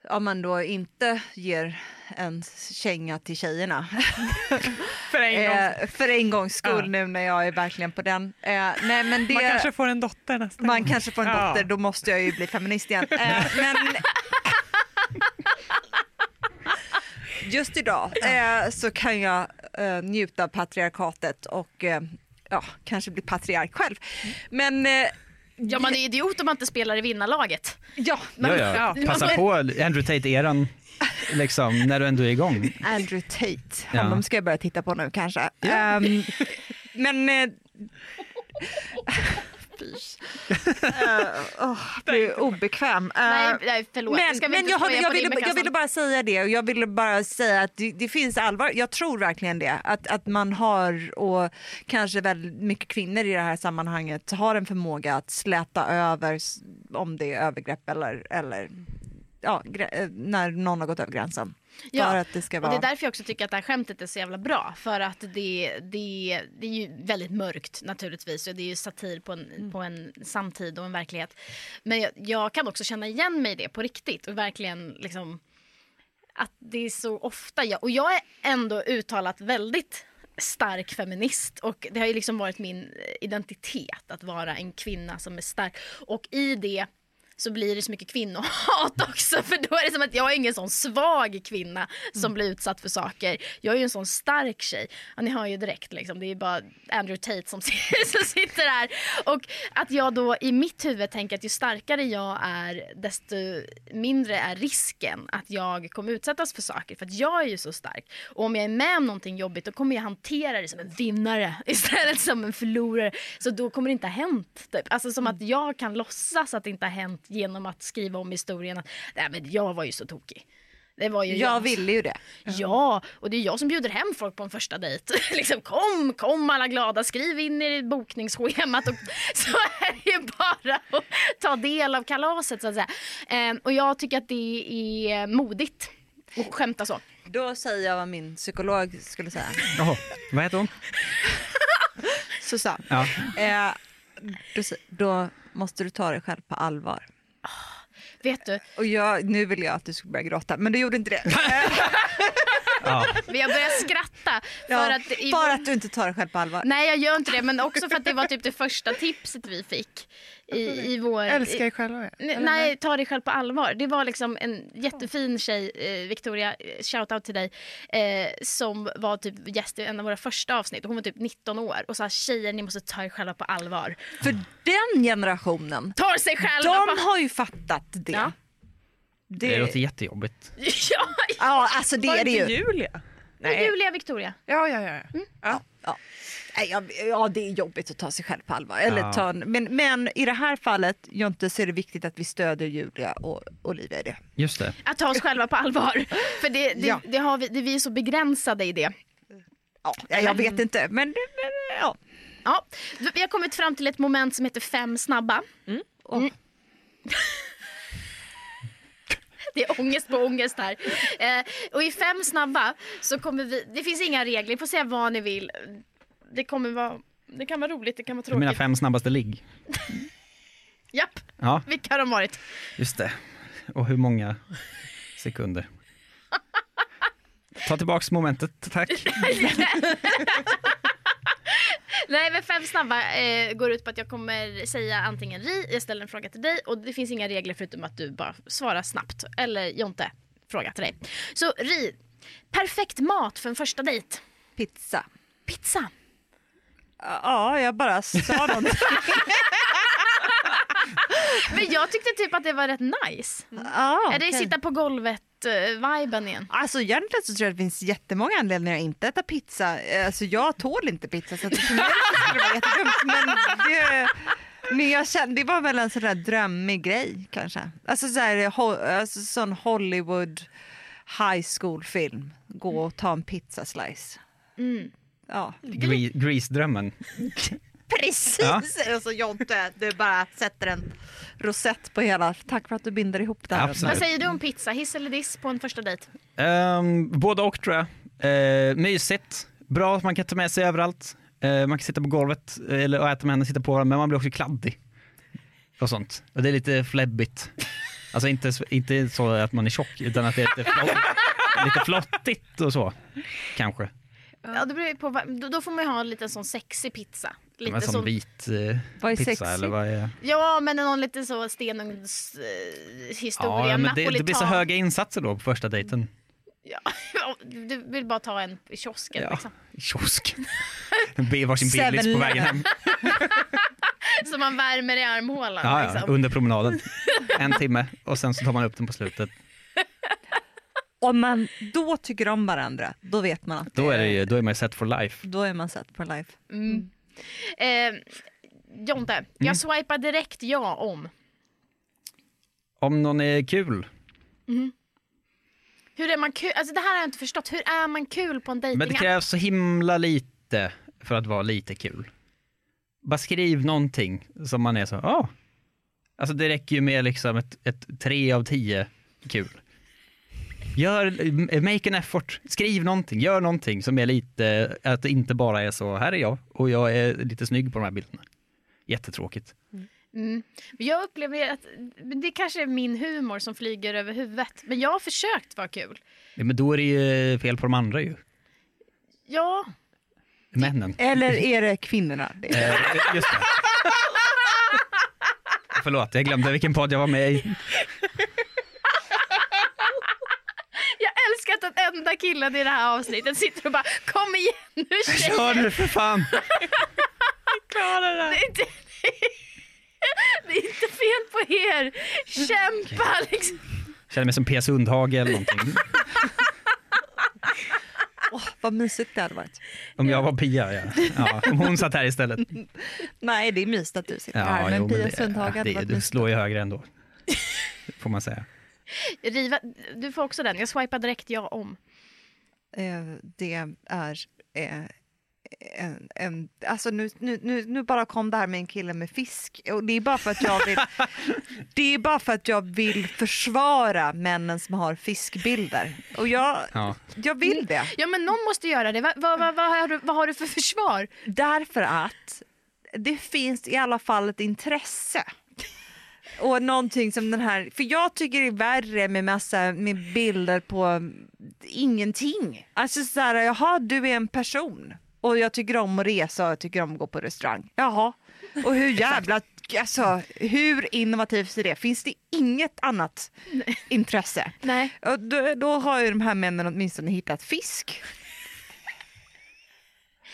Speaker 1: Om man då inte ger en känga till tjejerna.
Speaker 4: För en gång.
Speaker 1: Eh, för en gångs skull
Speaker 4: Ja.
Speaker 1: nu när jag är verkligen på den. Eh, nej, men det,
Speaker 4: Man kanske får en dotter nästa gång.
Speaker 1: man kanske får en
Speaker 4: Ja.
Speaker 1: dotter, då måste jag ju bli feminist igen. Eh, men... Just idag eh, så kan jag eh, njuta av patriarkatet och eh, ja, kanske bli patriark själv.
Speaker 4: Mm.
Speaker 1: Men eh,
Speaker 2: Ja, man är idiot om man inte spelar i vinnarlaget.
Speaker 1: ja,
Speaker 3: ja, ja.
Speaker 2: Ja.
Speaker 3: Passa på Andrew Tate-eran, liksom, när du ändå är igång.
Speaker 1: Andrew Tate,
Speaker 3: Ja.
Speaker 1: honom ska jag börja titta på nu kanske. Ehm, men... Eh, Fys. Eh, åh, jag blir obekväm. Eh,
Speaker 2: nej, nej, förlåt.
Speaker 1: Men,
Speaker 2: Ska vi
Speaker 1: men
Speaker 2: inte
Speaker 1: jag, har,
Speaker 2: skoja
Speaker 1: jag,
Speaker 2: på
Speaker 1: ville,
Speaker 2: det med
Speaker 1: jag ville
Speaker 2: kassan?
Speaker 1: bara säga det och jag ville bara säga att det, det finns allvar. Jag tror verkligen det. Att, att man har och kanske väldigt mycket kvinnor i det här sammanhanget har en förmåga att släta över s- om det är övergrepp eller, eller ja, grä- eh, när någon har gått över gränsen. För att det ska vara...
Speaker 2: Och det är därför jag också tycker att det här skämtet är så jävla bra. För att det, det, det är ju väldigt mörkt naturligtvis. Och det är ju satir på en,
Speaker 1: Mm.
Speaker 2: på en samtid och en verklighet. Men jag, jag kan också känna igen mig i det på riktigt. Och verkligen liksom att det är så ofta jag, och jag är ändå uttalat väldigt stark feminist och det har ju liksom varit min identitet att vara en kvinna som är stark och i det så blir det så mycket kvinnohat också. För då är det som att jag är ingen sån svag kvinna som blir utsatt för saker. Jag är ju en sån stark tjej. Ja, ni hör ju direkt liksom. Det är ju bara Andrew Tate som, som sitter här. Och att jag då i mitt huvud tänker att ju starkare jag är desto mindre är risken att jag kommer utsättas för saker. För att jag är ju så stark. Och om jag är med om någonting jobbigt då kommer jag hantera det som en vinnare istället som en förlorare. Så då kommer det inte ha hänt. Typ. Alltså som att jag kan låtsas att det inte har hänt genom att skriva om historien att Nej, men jag var ju så tokig. Det var ju
Speaker 1: Jag
Speaker 2: jag
Speaker 1: ville ju det.
Speaker 2: Ja, och det är jag som bjuder hem folk på en första dejt. liksom, kom, kom alla glada, skriv in i bokningsschemat. Och, så är det ju bara att ta del av kalaset så att säga. Ehm, och jag tycker att det är modigt att skämta så.
Speaker 1: Då säger jag vad min psykolog skulle säga.
Speaker 3: Jaha, vad heter hon?
Speaker 1: Susanne,
Speaker 3: Ja.
Speaker 1: eh, då, sä- då måste du ta dig själv på allvar.
Speaker 2: Vet du,
Speaker 1: Och jag, nu vill jag att du skulle börja gråta, men du gjorde inte det.
Speaker 3: Ja.
Speaker 2: men jag börjar skratta. För
Speaker 1: Ja,
Speaker 2: att i
Speaker 1: bara att du inte tar dig själv på allvar.
Speaker 2: Nej jag gör inte det men också för att det var typ det första tipset vi fick i, i vår...
Speaker 4: Älskar er själva.
Speaker 2: Nej, nej, ta dig själv på allvar. Det var liksom en jättefin tjej, eh, Victoria, eh, shoutout till dig, eh, som var typ gäst i en av våra första avsnitt. Hon var typ 19 år och sa tjejer ni måste ta er själva på allvar.
Speaker 1: För den generationen,
Speaker 2: Tar sig själva
Speaker 1: de
Speaker 2: på...
Speaker 1: har ju fattat det.
Speaker 2: Ja.
Speaker 1: Det-
Speaker 3: Det låter jättejobbigt.
Speaker 2: ja,
Speaker 1: Ja, alltså det
Speaker 4: Var
Speaker 1: är det
Speaker 4: inte
Speaker 1: ju.
Speaker 4: Julia?
Speaker 2: nej. Julia Victoria.
Speaker 4: Ja, ja, ja. ja. ja.
Speaker 1: Nej, ja, ja, det är jobbigt att ta sig själv på allvar. Eller
Speaker 3: Ja.
Speaker 1: ta en, men, men i det här fallet, Jonte, så är det viktigt att vi stödjer Julia och Olivia i det.
Speaker 3: Just det.
Speaker 2: Att ta oss själva på allvar. För det, det,
Speaker 1: Ja.
Speaker 2: det har vi, det, vi är så begränsade i det.
Speaker 1: Ja, jag vet inte, men, men ja.
Speaker 2: Ja, vi har kommit fram till ett moment som heter fem snabba. Mm. Det är ångest på ångest här. Eh, och i fem snabba så kommer vi... Det finns inga regler, ni får säga vad ni vill. Det kommer vara... Det kan vara roligt, det kan vara
Speaker 3: Du menar
Speaker 2: tråkigt.
Speaker 3: fem snabbaste ligg?
Speaker 2: Japp,
Speaker 3: Ja,
Speaker 2: vilka har de varit?
Speaker 3: just det. Och hur många sekunder? Ta tillbaks momentet, tack.
Speaker 2: Nej, men fem snabba eh, går ut på att jag kommer säga antingen ri, jag ställer en fråga till dig och det finns inga regler förutom att du bara svarar snabbt. Eller Jonte, fråga till dig. Så ri, perfekt mat för en första dejt.
Speaker 1: Pizza.
Speaker 2: Pizza.
Speaker 1: Ja, jag bara sa någonting.
Speaker 2: Men jag tyckte typ att det var rätt nice.
Speaker 1: ja,
Speaker 2: Är det
Speaker 1: okej.
Speaker 2: sitta på golvet-viben igen?
Speaker 1: Alltså egentligen så tror jag att det finns jättemånga anledningar att inte äta pizza. Eh, Alltså jag tål inte pizza så att för mig skulle det vara jättedumt. Men, det, men jag kände, det var väl en sån där drömmig grej kanske. Alltså, så här, ho, alltså sån Hollywood high school film. Gå och ta en pizza slice. Mm. Ja.
Speaker 3: Gre- Grease-drömmen.
Speaker 1: Precis! Alltså Jonte, du bara sätter en rosett på hela. Tack för att du binder ihop det här.
Speaker 3: Absolut.
Speaker 2: Vad säger du om pizza? Hiss eller diss på en första dejt?
Speaker 3: Um, både och tror jag. Eh, mysigt, bra, man kan ta med sig överallt. Eh, man kan sitta på golvet eh, eller och äta med henne, sitta på den, men man blir också kladdig. Och sånt. Och det är lite fläbbigt. Alltså inte, s- inte så att man är tjock, utan att det är lite, flott, lite flottigt och så. Kanske.
Speaker 2: Ja, det beror ju på, vad- då, då får man ju ha en liten sån sexig pizza. Lite
Speaker 3: Men som
Speaker 2: sån,
Speaker 3: vit eh,
Speaker 1: Vad är
Speaker 3: pizza
Speaker 1: sexigt?
Speaker 3: eller vad är...
Speaker 2: ja, men någon lite så stenugnshistoria, eh, historia,
Speaker 3: Ja, men det,
Speaker 2: napolitan.
Speaker 3: det blir så höga insatser då på första dejten.
Speaker 2: Ja, du du vill bara ta en i kiosken
Speaker 3: Ja.
Speaker 2: liksom.
Speaker 3: Kiosk. Be varsin
Speaker 1: Seven
Speaker 3: Baileys på vägen hem.
Speaker 2: Så man värmer i armhålan.
Speaker 3: Ja, ja,
Speaker 2: liksom.
Speaker 3: under promenaden. En timme och sen så tar man upp den på slutet.
Speaker 1: Om man då tycker om varandra, då vet man att eh,
Speaker 3: Då är, det ju, då är man ju set for life.
Speaker 1: då är man sett på life.
Speaker 2: Eh, Jonte,
Speaker 3: Mm.
Speaker 2: jag swipar direkt ja om.
Speaker 3: Om någon är kul.
Speaker 2: Hur är man kul? Alltså det här har jag inte förstått. Hur är man kul på en
Speaker 3: Men det
Speaker 2: dejtingapp?
Speaker 3: krävs så himla lite för att vara lite kul. Bara skriv någonting som man är så, ja. Alltså det räcker ju med liksom ett, ett 3 av 10 kul. Gör, make an effort, skriv någonting, gör någonting som är lite, att det inte bara är så, här är jag och jag är lite snygg på de här bilderna. Jättetråkigt.
Speaker 2: Mm. Men Jag upplever att men det kanske är min humor som flyger över huvudet. Men jag har försökt vara kul.
Speaker 3: Ja, Men då är det ju fel på de andra ju,
Speaker 2: Ja,
Speaker 3: männen.
Speaker 1: Eh, Eller är det kvinnorna?
Speaker 3: Eh, Just det. Förlåt, jag glömde vilken podd jag var med i.
Speaker 2: Jag älskar att den enda killen i det här avsnittet sitter och bara kom igen nu tjejer.
Speaker 3: Kör nu för fan!
Speaker 4: Klara det
Speaker 2: Det
Speaker 4: här.
Speaker 2: är inte, det är inte fel på er. Kämpa liksom.
Speaker 3: Känner mig som P. Sundhage eller någonting.
Speaker 1: Vad mysigt det hade varit.
Speaker 3: Om jag var Pia, ja. ja om hon satt här istället.
Speaker 1: Nej, det är mysigt att du sitter
Speaker 3: Ja,
Speaker 1: här, men
Speaker 3: jo, men
Speaker 1: Pia
Speaker 3: det-
Speaker 1: Sundhage hade
Speaker 3: det,
Speaker 1: varit
Speaker 3: Du
Speaker 1: mysigt.
Speaker 3: slår ju högre ändå. Får man säga.
Speaker 2: Riva, du får också den. Jag swipar direkt jag om.
Speaker 1: Eh, det är eh, en, en, alltså nu, nu, nu, nu bara kom det här med en kille med fisk och det är bara för att jag vill, det är bara för att jag vill försvara männen som har fiskbilder och jag,
Speaker 3: Ja.
Speaker 1: jag vill det
Speaker 2: Ja men någon måste göra det. Va, va, va, vad har du, vad har du för försvar?
Speaker 1: därför att det finns i alla fall ett intresse. Och någonting som den här, för jag tycker det är värre med massa med bilder på mm, ingenting. Alltså så här, jaha du är en person och jag tycker om att resa och jag tycker om att gå på restaurang. Jaha, och hur jävla, alltså hur innovativt är det? Finns det inget annat intresse?
Speaker 2: Nej.
Speaker 1: Och då, då har ju de här männen åtminstone hittat fisk.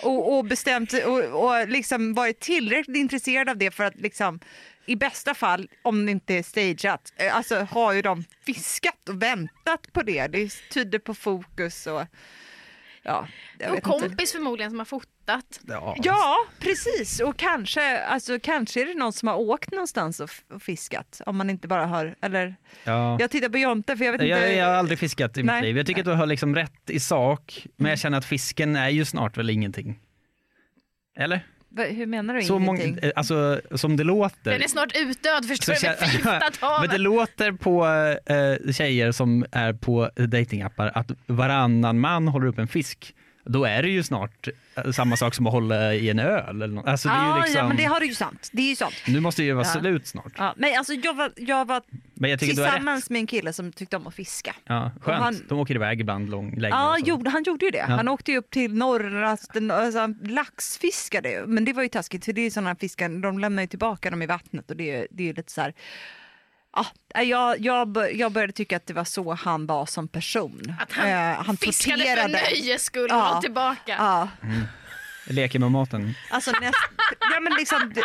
Speaker 1: Och, och bestämt och, och liksom varit tillräckligt intresserad av det för att liksom i bästa fall, om det inte är stageat, eh, alltså har ju de fiskat och väntat på det. Det tyder på fokus och ja, jag
Speaker 2: Och
Speaker 1: vet inte.
Speaker 2: kompis förmodligen som har fotat.
Speaker 3: Ja.
Speaker 1: Ja, precis. Och kanske, alltså, kanske är det någon som har åkt någonstans och, f- och fiskat. Om man inte bara har, eller
Speaker 3: Ja.
Speaker 1: jag tittar på Jonte för jag vet inte.
Speaker 3: Jag, jag har aldrig fiskat
Speaker 1: Nej.
Speaker 3: i
Speaker 1: Mm.
Speaker 3: mitt liv. Jag tycker att du har liksom rätt i sak, men jag känner att fisken är ju snart väl ingenting. Eller?
Speaker 1: Va- Hur menar du?
Speaker 3: Så många,
Speaker 1: ingenting?
Speaker 3: eh, alltså, som det låter.
Speaker 2: Den är snart utdöd förstår
Speaker 3: så
Speaker 2: du. Med
Speaker 3: kä-
Speaker 2: filtat
Speaker 3: men det
Speaker 2: havet.
Speaker 3: låter på eh, tjejer som är på datingappar att varannan man håller upp en fisk. Då är det ju snart eh, samma sak som att hålla i en öl. Eller nå- alltså, det är
Speaker 1: Ja,
Speaker 3: ju liksom,
Speaker 1: ja, men det har du ju sant. Det är ju sant.
Speaker 3: Nu måste det ju vara
Speaker 1: Ja.
Speaker 3: slut snart.
Speaker 1: Ja, men alltså jag var, jag var
Speaker 3: Men jag tycker du har rätt.
Speaker 1: tillsammans med en kille som tyckte om att fiska.
Speaker 3: Ja,
Speaker 1: Och
Speaker 3: skönt,
Speaker 1: han-
Speaker 3: de åker iväg ibland lång, länge.
Speaker 1: Ja,
Speaker 3: och så.
Speaker 1: gjorde, han gjorde ju det. Han åkte ju upp till norra, den- alltså, han laxfiskade ju. Men det var ju taskigt för det är ju sådana fiskar, de lämnar ju tillbaka dem i vattnet och det är, det är ju lite så här. Ja, nej, jag, jag, bör- jag började tycka att det var så han var som person.
Speaker 2: Att han,
Speaker 1: Eh,
Speaker 2: fiskade för
Speaker 1: torterade.
Speaker 2: nöjes skull och
Speaker 1: Ja.
Speaker 2: var tillbaka.
Speaker 1: Ja,
Speaker 3: Leker med maten.
Speaker 1: alltså näst, ja, men liksom d-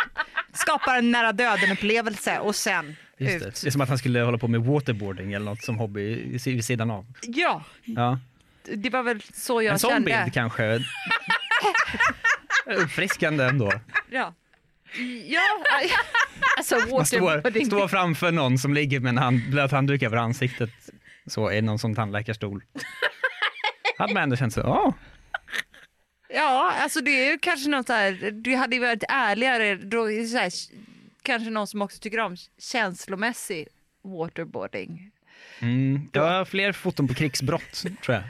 Speaker 1: skapar en nära döden upplevelse och sen
Speaker 3: Just det.
Speaker 1: ut.
Speaker 3: det är som att han skulle hålla på med waterboarding eller något som hobby i- vid sidan av.
Speaker 1: Ja,
Speaker 3: Ja.
Speaker 1: det var väl så jag
Speaker 3: En sån
Speaker 1: kände.
Speaker 3: bild kanske. Uppfriskande ändå.
Speaker 1: Ja. Ja, aj. alltså
Speaker 3: Man står,
Speaker 1: waterboarding.
Speaker 3: står framför någon som ligger med en hand, blöt handduk över ansiktet. Så är någon som tandläkarstol. Hade man ändå känt så, ja.
Speaker 1: Ja, alltså det är ju kanske något så här, det hade ju varit ärligare, då är det så här, kanske någon som också tycker om känslomässig waterboarding.
Speaker 3: Mm. Jag har fler foton på krigsbrott, tror jag.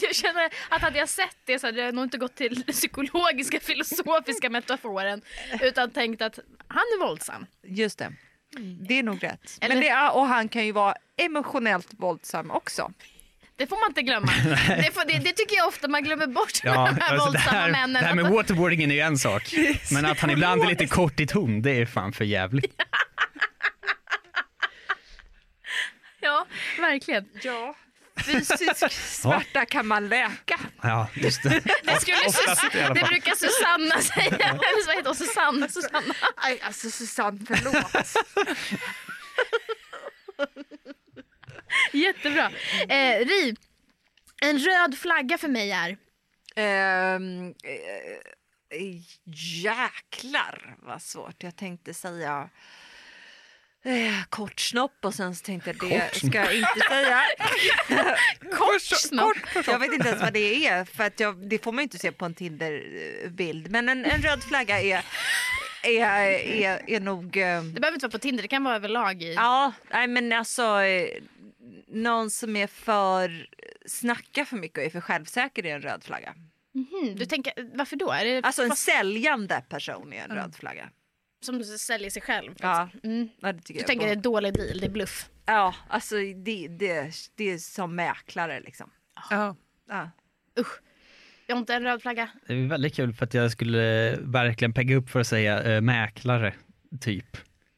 Speaker 2: Jag känner att hade jag sett det så hade jag nog inte gått till psykologiska filosofiska metaforen utan tänkt att han är våldsam.
Speaker 1: Just det. Det är nog rätt.
Speaker 2: Eller-
Speaker 1: Men det är, och han kan ju vara emotionellt våldsam också.
Speaker 2: Det får man inte glömma. Det, får, det, det tycker jag ofta man glömmer bort med de här
Speaker 3: alltså det,
Speaker 2: våldsamma
Speaker 3: här, det
Speaker 2: männen.
Speaker 3: här med
Speaker 2: Att-
Speaker 3: waterboardingen är ju en sak. Men att han ibland är lite kort i ton, det är fan för jävligt.
Speaker 2: ja, verkligen.
Speaker 1: Ja. Fysisk smärta kan man läka.
Speaker 3: Ja, just det.
Speaker 2: Det, skulle Sus-
Speaker 3: Oftast i alla
Speaker 2: det
Speaker 3: fall.
Speaker 2: brukar Susanna säga. Eller så heter hon Susanna. Susanna.
Speaker 1: Aj, alltså Susanne, förlåt.
Speaker 2: Jättebra. Eh, Ri, en röd flagga för mig är...
Speaker 1: Ehm, eh, jäklar vad svårt. Jag tänkte säga eh, kort snopp och sen så tänkte jag det ska jag inte säga.
Speaker 2: Kort,
Speaker 1: Jag vet inte ens vad det är för att jag, det får man ju inte se på en Tinder-bild. Men en, en röd flagga är, är, är, är nog... eh,
Speaker 2: Det behöver inte vara på Tinder, det kan vara överlag. I.
Speaker 1: Ja, nej men alltså eh, någon som är för snackar för mycket och är för självsäker är en röd flagga.
Speaker 2: Mm, du tänker, varför då? Är det
Speaker 1: Alltså en säljande person är en
Speaker 2: Mm.
Speaker 1: röd flagga.
Speaker 2: som säljer sig själv?
Speaker 1: Ja,
Speaker 2: Mm.
Speaker 1: ja det tycker
Speaker 2: Du
Speaker 1: jag.
Speaker 2: tänker det är dålig deal, det är bluff.
Speaker 1: Ja, alltså det, det, det är som mäklare liksom.
Speaker 4: Ja.
Speaker 1: Ja.
Speaker 2: Jag har inte en röd flagga.
Speaker 3: Det är väldigt kul för att jag skulle eh, verkligen pegga upp för att säga eh, mäklare, typ.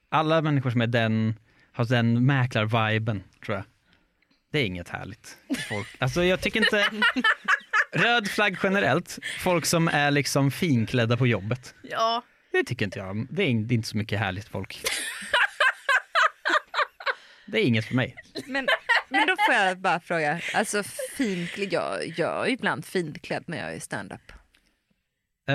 Speaker 3: Alla människor som är den, har den mäklar-viben, tror jag. Det är inget härligt. Folk. Alltså jag tycker inte... Röd flagg generellt, folk som är liksom finklädda på jobbet.
Speaker 2: Ja,
Speaker 3: Det tycker inte jag om. Det är in- det är inte så mycket härligt folk. Det är inget för mig.
Speaker 8: Men, men då får jag bara fråga, alltså finklädd, jag, jag är ibland finklädd när jag är stand-up.
Speaker 3: Eh,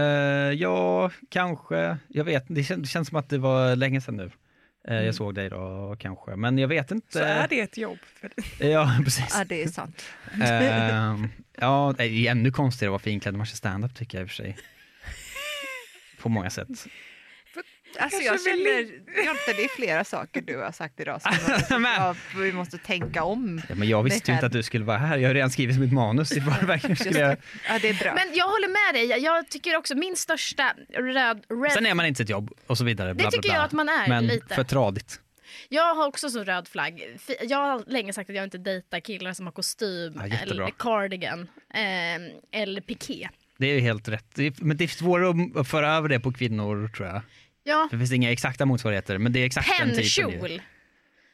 Speaker 3: ja, kanske. Jag vet Det, kän- det känns som att det var länge sedan nu. Eh,
Speaker 2: Mm.
Speaker 3: Jag såg dig då kanske, men jag vet inte. Eh,
Speaker 4: Så är det ett jobb. För dig.
Speaker 3: Ja, precis.
Speaker 8: Ja det är sant.
Speaker 3: Ehm, ja, det är ju ännu konstigare att vara finklädd när man kör standup tycker jag i och för sig. På många sätt.
Speaker 1: Alltså jag
Speaker 4: Kanske
Speaker 1: känner,
Speaker 4: vill-
Speaker 1: Jonte det är flera saker du har sagt idag som
Speaker 3: men,
Speaker 1: jag, vi måste tänka om.
Speaker 3: ja, men jag visste ju inte att du skulle vara här. Jag har redan skrivit mitt manus i förväg. Nu skulle jag-
Speaker 1: Ja det är bra.
Speaker 2: men jag håller med dig. Jag- Jag tycker också min största röd... red
Speaker 3: Sen är man inte sitt jobb och så vidare.
Speaker 2: Det tycker jag att man är
Speaker 3: Men
Speaker 2: lite.
Speaker 3: för tradigt.
Speaker 2: Jag har också så röd flagg. Fi- Jag har länge sagt att jag inte dejtar killar som har kostym
Speaker 3: Ja, jättebra.
Speaker 2: eller cardigan eh, eller piké.
Speaker 3: Det är ju helt rätt. Det är- Men det är svårare att föra över det på kvinnor tror jag.
Speaker 2: Ja,
Speaker 3: Det finns inga exakta motsvarigheter, men det är exakt den typen. ju.
Speaker 2: pennkjol.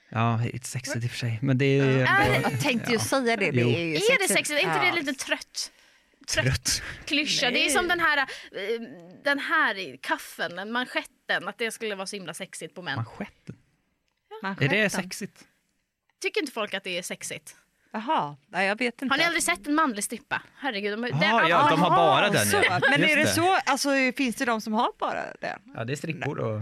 Speaker 3: Ja, it's sexigt i och för sig. Men det är ju
Speaker 2: Är
Speaker 3: ändå
Speaker 8: Jag tänkte ju säga det, det
Speaker 3: Jo.
Speaker 8: är ju
Speaker 2: Är det sexigt? Är inte
Speaker 8: Ja.
Speaker 2: det lite trött? Trött
Speaker 3: rött.
Speaker 2: klyscha. Det är som den här, eh, den här i kaffen, den manschetten, att det skulle vara så himla sexigt på män.
Speaker 3: Manschetten. Är det sexigt?
Speaker 2: Tycker inte folk att det är sexigt?
Speaker 1: Jaha, nej, jag vet inte.
Speaker 2: Har ni aldrig sett en manlig strippa? Herregud, de, den-
Speaker 3: Jaha, ja, de har
Speaker 1: Jaha,
Speaker 3: bara den.
Speaker 1: Så.
Speaker 3: ja.
Speaker 1: Men
Speaker 3: Just
Speaker 1: är det så, alltså finns det de som har bara det?
Speaker 3: Ja, det är strippor och...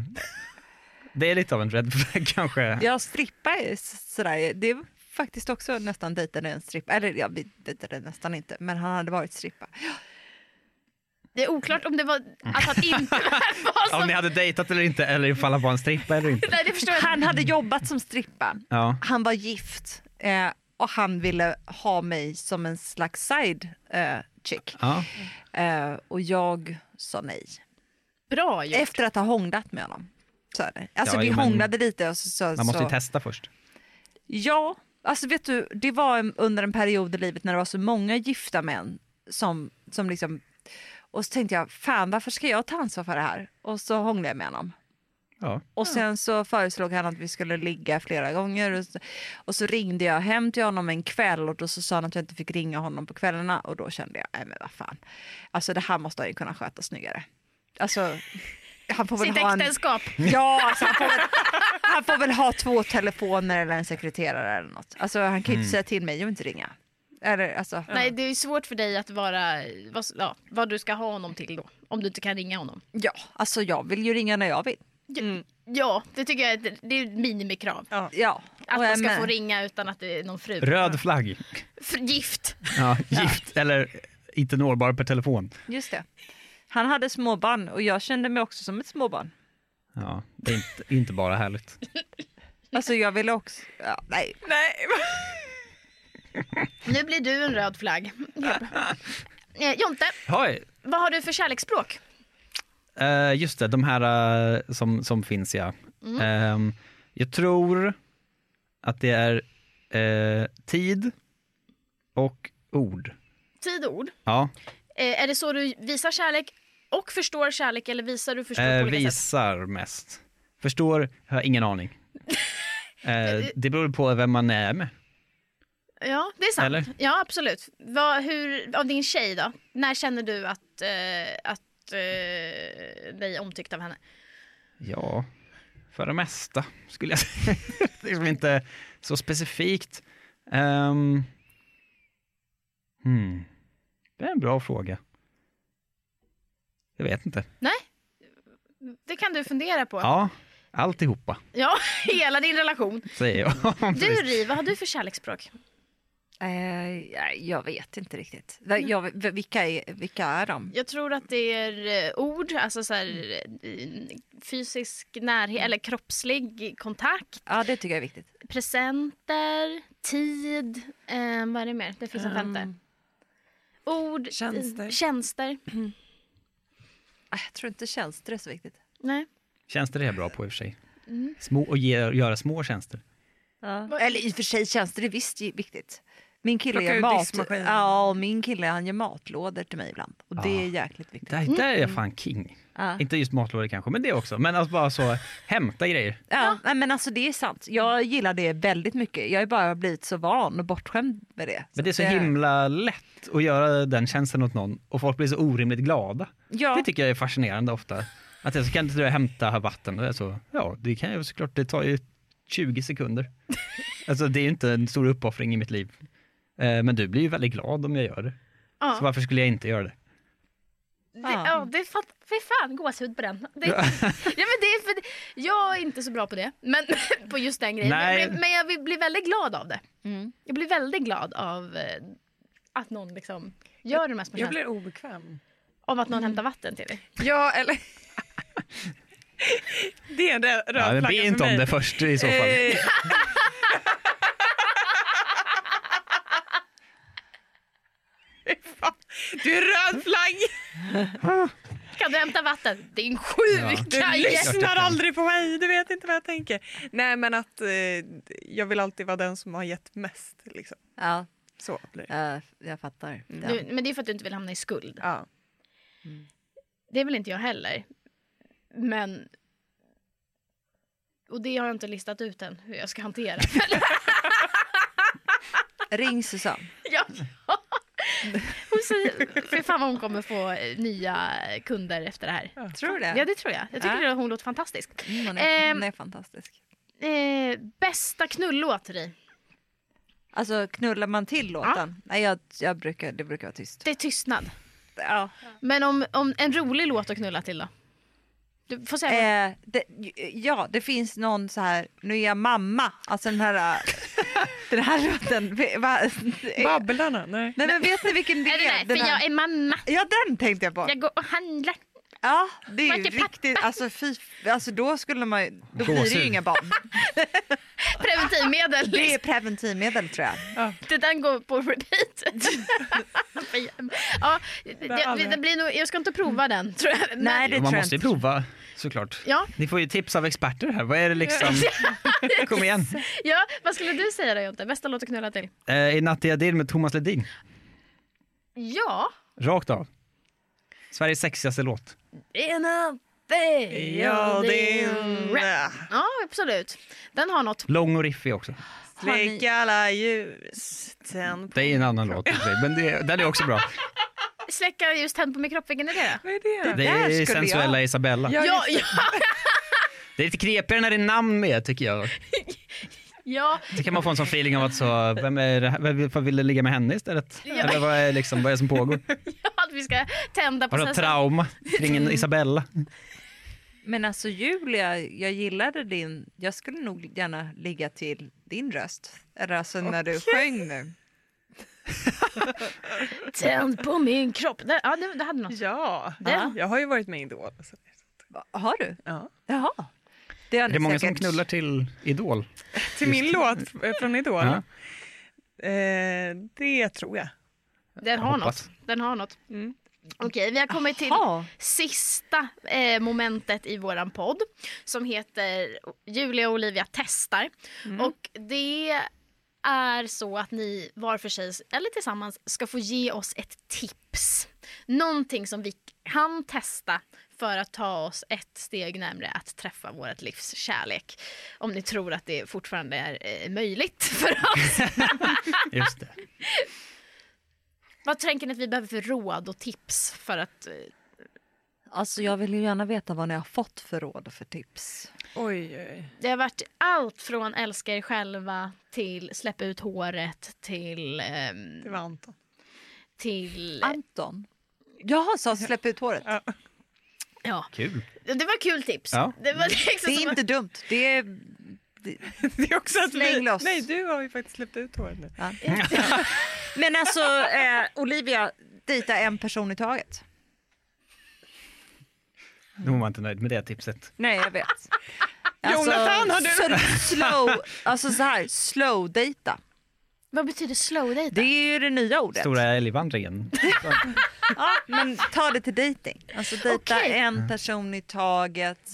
Speaker 3: Det är lite av en red flag kanske.
Speaker 1: Jag strippar är s- sådär, det är faktiskt också nästan dejtade en strippa, eller jag dejtade nästan inte, men han hade varit strippa.
Speaker 2: det är oklart om det var alltså, att inte var
Speaker 3: Om
Speaker 2: som...
Speaker 3: ni hade dejtat eller inte, eller ifall han var en strippa eller inte.
Speaker 2: Nej, det förstår jag.
Speaker 1: Han hade jobbat som strippa,
Speaker 3: Ja.
Speaker 1: han var gift eh, och han ville ha mig som en slags side eh, chick.
Speaker 3: Ja.
Speaker 1: Eh, och jag sa nej.
Speaker 2: Bra ju.
Speaker 1: Efter att ha hånglat med honom. Så är det. Alltså
Speaker 3: Ja,
Speaker 1: vi
Speaker 3: jo, men-
Speaker 1: hånglade lite och så... så,
Speaker 3: Man måste
Speaker 1: så
Speaker 3: ju testa först.
Speaker 1: ja, alltså vet du, det var en, under en period i livet när det var så många gifta män som, som liksom... Och så tänkte jag, fan varför ska jag ta ansvar för det här? Och så hånglade jag med honom.
Speaker 3: Ja.
Speaker 1: Och sen så föreslog han att vi skulle ligga flera gånger. Och så, och så ringde jag hem till honom en kväll och då så sa han att jag inte fick ringa honom på kvällarna. Och då kände jag, nej men vad fan. Alltså det här måste han ju kunna sköta snyggare. Alltså, han får väl
Speaker 2: Sitt
Speaker 1: ha en...
Speaker 2: äktenskap.
Speaker 1: Ja, alltså han, får väl, han får väl ha två telefoner eller en sekreterare eller något. Alltså han kan ju inte säga till mig att inte ringa. Eller alltså,
Speaker 2: Nej, det är svårt för dig att vara vad, ja, vad du ska ha honom till då. Om du inte kan ringa honom.
Speaker 1: ja, alltså jag vill ju ringa när jag vill.
Speaker 3: Mm.
Speaker 2: Ja, det tycker jag är ett, det är ett minimikrav.
Speaker 1: Ja.
Speaker 2: Att
Speaker 1: och
Speaker 2: man
Speaker 1: jag
Speaker 2: ska
Speaker 1: med.
Speaker 2: få ringa utan att det är någon fru.
Speaker 3: Röd flagg.
Speaker 2: Fr- Gift.
Speaker 3: Ja, gift eller inte nåbar per telefon.
Speaker 1: Just det. Han hade småbarn och jag kände mig också som ett småbarn.
Speaker 3: Ja, det är inte, inte bara härligt.
Speaker 1: Alltså jag ville också, ja, nej.
Speaker 4: Nej,
Speaker 2: Nu blir du en röd flagg. Eh, Jonte,
Speaker 3: Hoj.
Speaker 2: vad har du för kärleksspråk?
Speaker 3: Eh, just det, de här eh, som, som finns ja.
Speaker 2: Mm.
Speaker 3: Ehm, jag tror att det är eh, tid och ord.
Speaker 2: Tid och ord.
Speaker 3: Ja,
Speaker 2: Eh, är det så du visar kärlek och förstår kärlek eller visar du förstår
Speaker 3: Eh,
Speaker 2: på olika sätt?
Speaker 3: visar mest. Förstår, har jag ingen aning. Eh, det beror på vem man är med.
Speaker 2: Ja, det är sant.
Speaker 3: Eller?
Speaker 2: Ja, absolut. Vad, hur, av din tjej då? När känner du att, eh, att eh, dig är omtyckt av henne?
Speaker 3: Ja, för det mesta skulle jag säga. det är liksom inte så specifikt. Ehm, hmm. Det är en bra fråga. Jag vet inte.
Speaker 2: Det kan du fundera på.
Speaker 3: Ja, alltihopa
Speaker 2: Ja, hela din relation.
Speaker 3: säger jag.
Speaker 2: Du
Speaker 3: Precis.
Speaker 2: Ri, vad har du för kärleksspråk?
Speaker 1: Eh, ja, jag vet inte riktigt. Jag, jag, vilka, är, vilka är de?
Speaker 2: Jag tror att det är eh, ord, alltså så här, eh, fysisk närhet eller kroppslig kontakt,
Speaker 1: Ja det tycker jag är viktigt.
Speaker 2: presenter, tid, eh, vad är det mer? Det finns en femte. Ord,
Speaker 4: Tjänster.
Speaker 2: eh, tjänster.
Speaker 1: Ah, Jag tror inte tjänster är så viktigt.
Speaker 2: Nej.
Speaker 3: Tjänster är jag bra på i och för sig. Små, och ge, göra små tjänster.
Speaker 1: Eller i och för sig tjänster är visst viktigt. Min kille
Speaker 4: Plocka
Speaker 1: gör
Speaker 4: ur
Speaker 1: mat.
Speaker 4: diskmaskinen.
Speaker 1: Ja, och min kille han gör matlådor till mig ibland. Och det
Speaker 3: Ah.
Speaker 1: är jäkligt viktigt.
Speaker 3: Där, där är jag fan king.
Speaker 1: Ja.
Speaker 3: Inte just matlådor kanske, men det också. Men att bara så hämta grejer.
Speaker 1: Ja, nej, men alltså det är sant. Jag gillar det väldigt mycket. Jag har bara blivit så van och bortskämd med det.
Speaker 3: Men det är så
Speaker 1: att
Speaker 3: himla lätt att göra den tjänsten åt någon och folk blir så orimligt glada.
Speaker 1: Ja.
Speaker 3: Det tycker jag är fascinerande ofta. Att jag så kan inte du hämta här vatten? Och jag så, ja, det kan jag såklart. Det tar ju 20 sekunder. alltså det är ju inte en stor uppoffring i mitt liv. Eh, Men du blir ju väldigt glad om jag gör det.
Speaker 2: Ja.
Speaker 3: Så varför skulle jag inte göra det?
Speaker 2: Det, ja, det är fan, fy fan gåshud på den. Det, ja, men det är för, jag är inte så bra på det, men på just den grejen.
Speaker 3: Nej.
Speaker 2: Men, men jag vill- blir väldigt glad av det. Jag blir väldigt glad av eh, att någon liksom gör de här små
Speaker 4: Jag
Speaker 2: tjänsterna.
Speaker 4: blir obekväm.
Speaker 2: Om att någon hämtar vatten till dig.
Speaker 4: Ja, eller... det är en röd
Speaker 3: Ja,
Speaker 4: flagga
Speaker 3: men be
Speaker 4: för
Speaker 3: inte om
Speaker 4: mig.
Speaker 3: det först i så fall.
Speaker 4: Eh, Fan, Du är röd flagg!
Speaker 2: Kan du hämta vatten? Din sjuka
Speaker 4: Du
Speaker 2: ja.
Speaker 4: lyssnar aldrig på mig, du vet inte vad jag tänker. Nej men att eh, jag vill alltid vara den som har gett mest. Liksom.
Speaker 1: Ja,
Speaker 4: Så blir det.
Speaker 1: jag, jag fattar. Ja.
Speaker 2: Du, men det är för att du inte vill hamna i skuld.
Speaker 4: Ja.
Speaker 2: Det vill inte jag heller. Men... Och det har jag inte listat ut än hur jag ska hantera.
Speaker 1: Ring Susanne.
Speaker 2: Ja. Hon säger, för fan vad hon kommer få eh, nya kunder efter det här.
Speaker 1: Tror du det?
Speaker 2: Ja det tror jag. Jag tycker att hon låter fantastisk.
Speaker 1: Mm, hon, är,
Speaker 2: Ehm.
Speaker 1: hon är fantastisk.
Speaker 2: Eh, bästa knullåt till dig?
Speaker 1: Alltså knullar man till låten? Nej, jag, jag brukar, det brukar vara tyst.
Speaker 2: Det är tystnad.
Speaker 1: Ja.
Speaker 2: Men om, om en rolig låt att knulla till då? Du får säga.
Speaker 1: Eh, det, ja, det finns någon så här, nu är jag mamma, alltså den här, äh, den här låten. Ve- Va? Eh,
Speaker 4: Babblarna, nej.
Speaker 1: Nej men vet ni vilken det
Speaker 2: Är det
Speaker 1: är?
Speaker 2: där?
Speaker 1: Den
Speaker 2: För jag
Speaker 1: här,
Speaker 2: är mamma.
Speaker 1: ja den tänkte jag på.
Speaker 2: Jag går och handlar.
Speaker 1: Ja det är ju
Speaker 2: Marke Pack-
Speaker 1: riktigt, alltså, fy, alltså då skulle man ju- då blir det
Speaker 3: Gåshud.
Speaker 1: ju inga barn.
Speaker 2: Preventivmedel.
Speaker 1: Det är
Speaker 2: liksom.
Speaker 1: preventivmedel tror jag.
Speaker 2: Det, den går på repeat. ja, jag, det blir nog, jag ska inte prova den tror jag. Men-
Speaker 1: Nej det
Speaker 3: Man
Speaker 1: tror jag
Speaker 3: måste ju
Speaker 1: inte.
Speaker 3: prova såklart.
Speaker 2: Ja.
Speaker 3: Ni får ju tips av experter här. Vad är det liksom? Kom igen.
Speaker 2: Ja, vad skulle du säga då Jonte? Bästa låt att knulla till?
Speaker 3: Eh, I Natt i Adil med Thomas Ledin.
Speaker 2: Ja.
Speaker 3: Rakt av. Sveriges sexigaste låt.
Speaker 2: Ena
Speaker 4: Ja, din
Speaker 2: Ja, absolut. Den har något.
Speaker 3: Lång och riffig också.
Speaker 4: Släck alla ljus, tänd på...
Speaker 3: Det är en annan låt, i och för sig, men det, den är också bra.
Speaker 2: Släcka just tänd på min kropp, vilken är det då?
Speaker 4: Vad är det?
Speaker 1: skulle
Speaker 3: Det är
Speaker 1: jag-
Speaker 3: sensuella Isabella.
Speaker 4: Ja,
Speaker 2: Ja,
Speaker 4: just
Speaker 2: ja,
Speaker 3: Det är lite knepigare när det är namn med tycker jag.
Speaker 2: ja,
Speaker 3: Så kan man få en sån feeling av att så, vem är det här? Vem- Varför ville ligga med henne istället? Eller vad är, liksom, vad är det som pågår?
Speaker 2: att vi ska tända på
Speaker 3: Har du något
Speaker 2: sensuella-
Speaker 3: trauma kring en Isabella?
Speaker 1: Men alltså Julia, jag gillade din, jag skulle nog gärna ligga till din röst. Eller alltså när du sjöng nu.
Speaker 2: Tänd på min kropp. Där, ja, det, det hade något.
Speaker 4: Ja,
Speaker 2: Ja.
Speaker 4: jag har ju varit med i Idol. Så.
Speaker 1: Va- Har du?
Speaker 4: Ja.
Speaker 1: Jaha. Det har
Speaker 3: Är
Speaker 1: ni
Speaker 3: det många som
Speaker 1: säkert.
Speaker 3: knullar till Idol?
Speaker 4: Till min låt fr- från Idol?
Speaker 3: Ja.
Speaker 4: Eh, det tror jag.
Speaker 2: Den har något.
Speaker 3: hoppas.
Speaker 2: Den har något.
Speaker 4: Mm.
Speaker 2: Okej, vi har kommit till
Speaker 1: Jaha.
Speaker 2: sista eh, momentet i våran podd som heter Julia och Olivia testar. Och det är så att ni var för sig eller tillsammans ska få ge oss ett tips. Någonting som vi kan testa för att ta oss ett steg närmare att träffa vårt livs kärlek. Om ni tror att det fortfarande är eh, möjligt för oss.
Speaker 3: Just det.
Speaker 2: Vad tänker ni att vi behöver för råd och tips för att... eh,
Speaker 1: Alltså jag vill ju gärna veta vad ni har fått för råd och för tips.
Speaker 4: Oj, oj.
Speaker 2: Det har varit allt från älska er själva till släpp ut håret till... ehm,
Speaker 4: det var Anton.
Speaker 2: till
Speaker 1: Ah. Anton? Jaha, sa släpp ut håret.
Speaker 2: ja.
Speaker 3: Kul.
Speaker 2: Det var kul tips.
Speaker 3: Ja.
Speaker 2: Det, var liksom
Speaker 1: Det är
Speaker 2: som
Speaker 1: inte
Speaker 2: att-
Speaker 1: dumt. Det är...
Speaker 4: Det är också att vi...
Speaker 1: Släng loss.
Speaker 4: Nej, du har ju faktiskt släppt ut håret nu.
Speaker 1: Men alltså eh, Olivia, dejta en person i taget.
Speaker 3: Nu var man inte nöjd med det tipset.
Speaker 1: Nej, jag vet.
Speaker 4: Jonathan, har du-
Speaker 1: sl- Slow, alltså så här, slow dejta.
Speaker 2: Vad betyder slow date?
Speaker 1: Det är ju det nya ordet.
Speaker 3: Stora älgvandringen.
Speaker 1: Ja, men ta det till dejting. Alltså dejta
Speaker 2: Okej.
Speaker 1: en person i taget.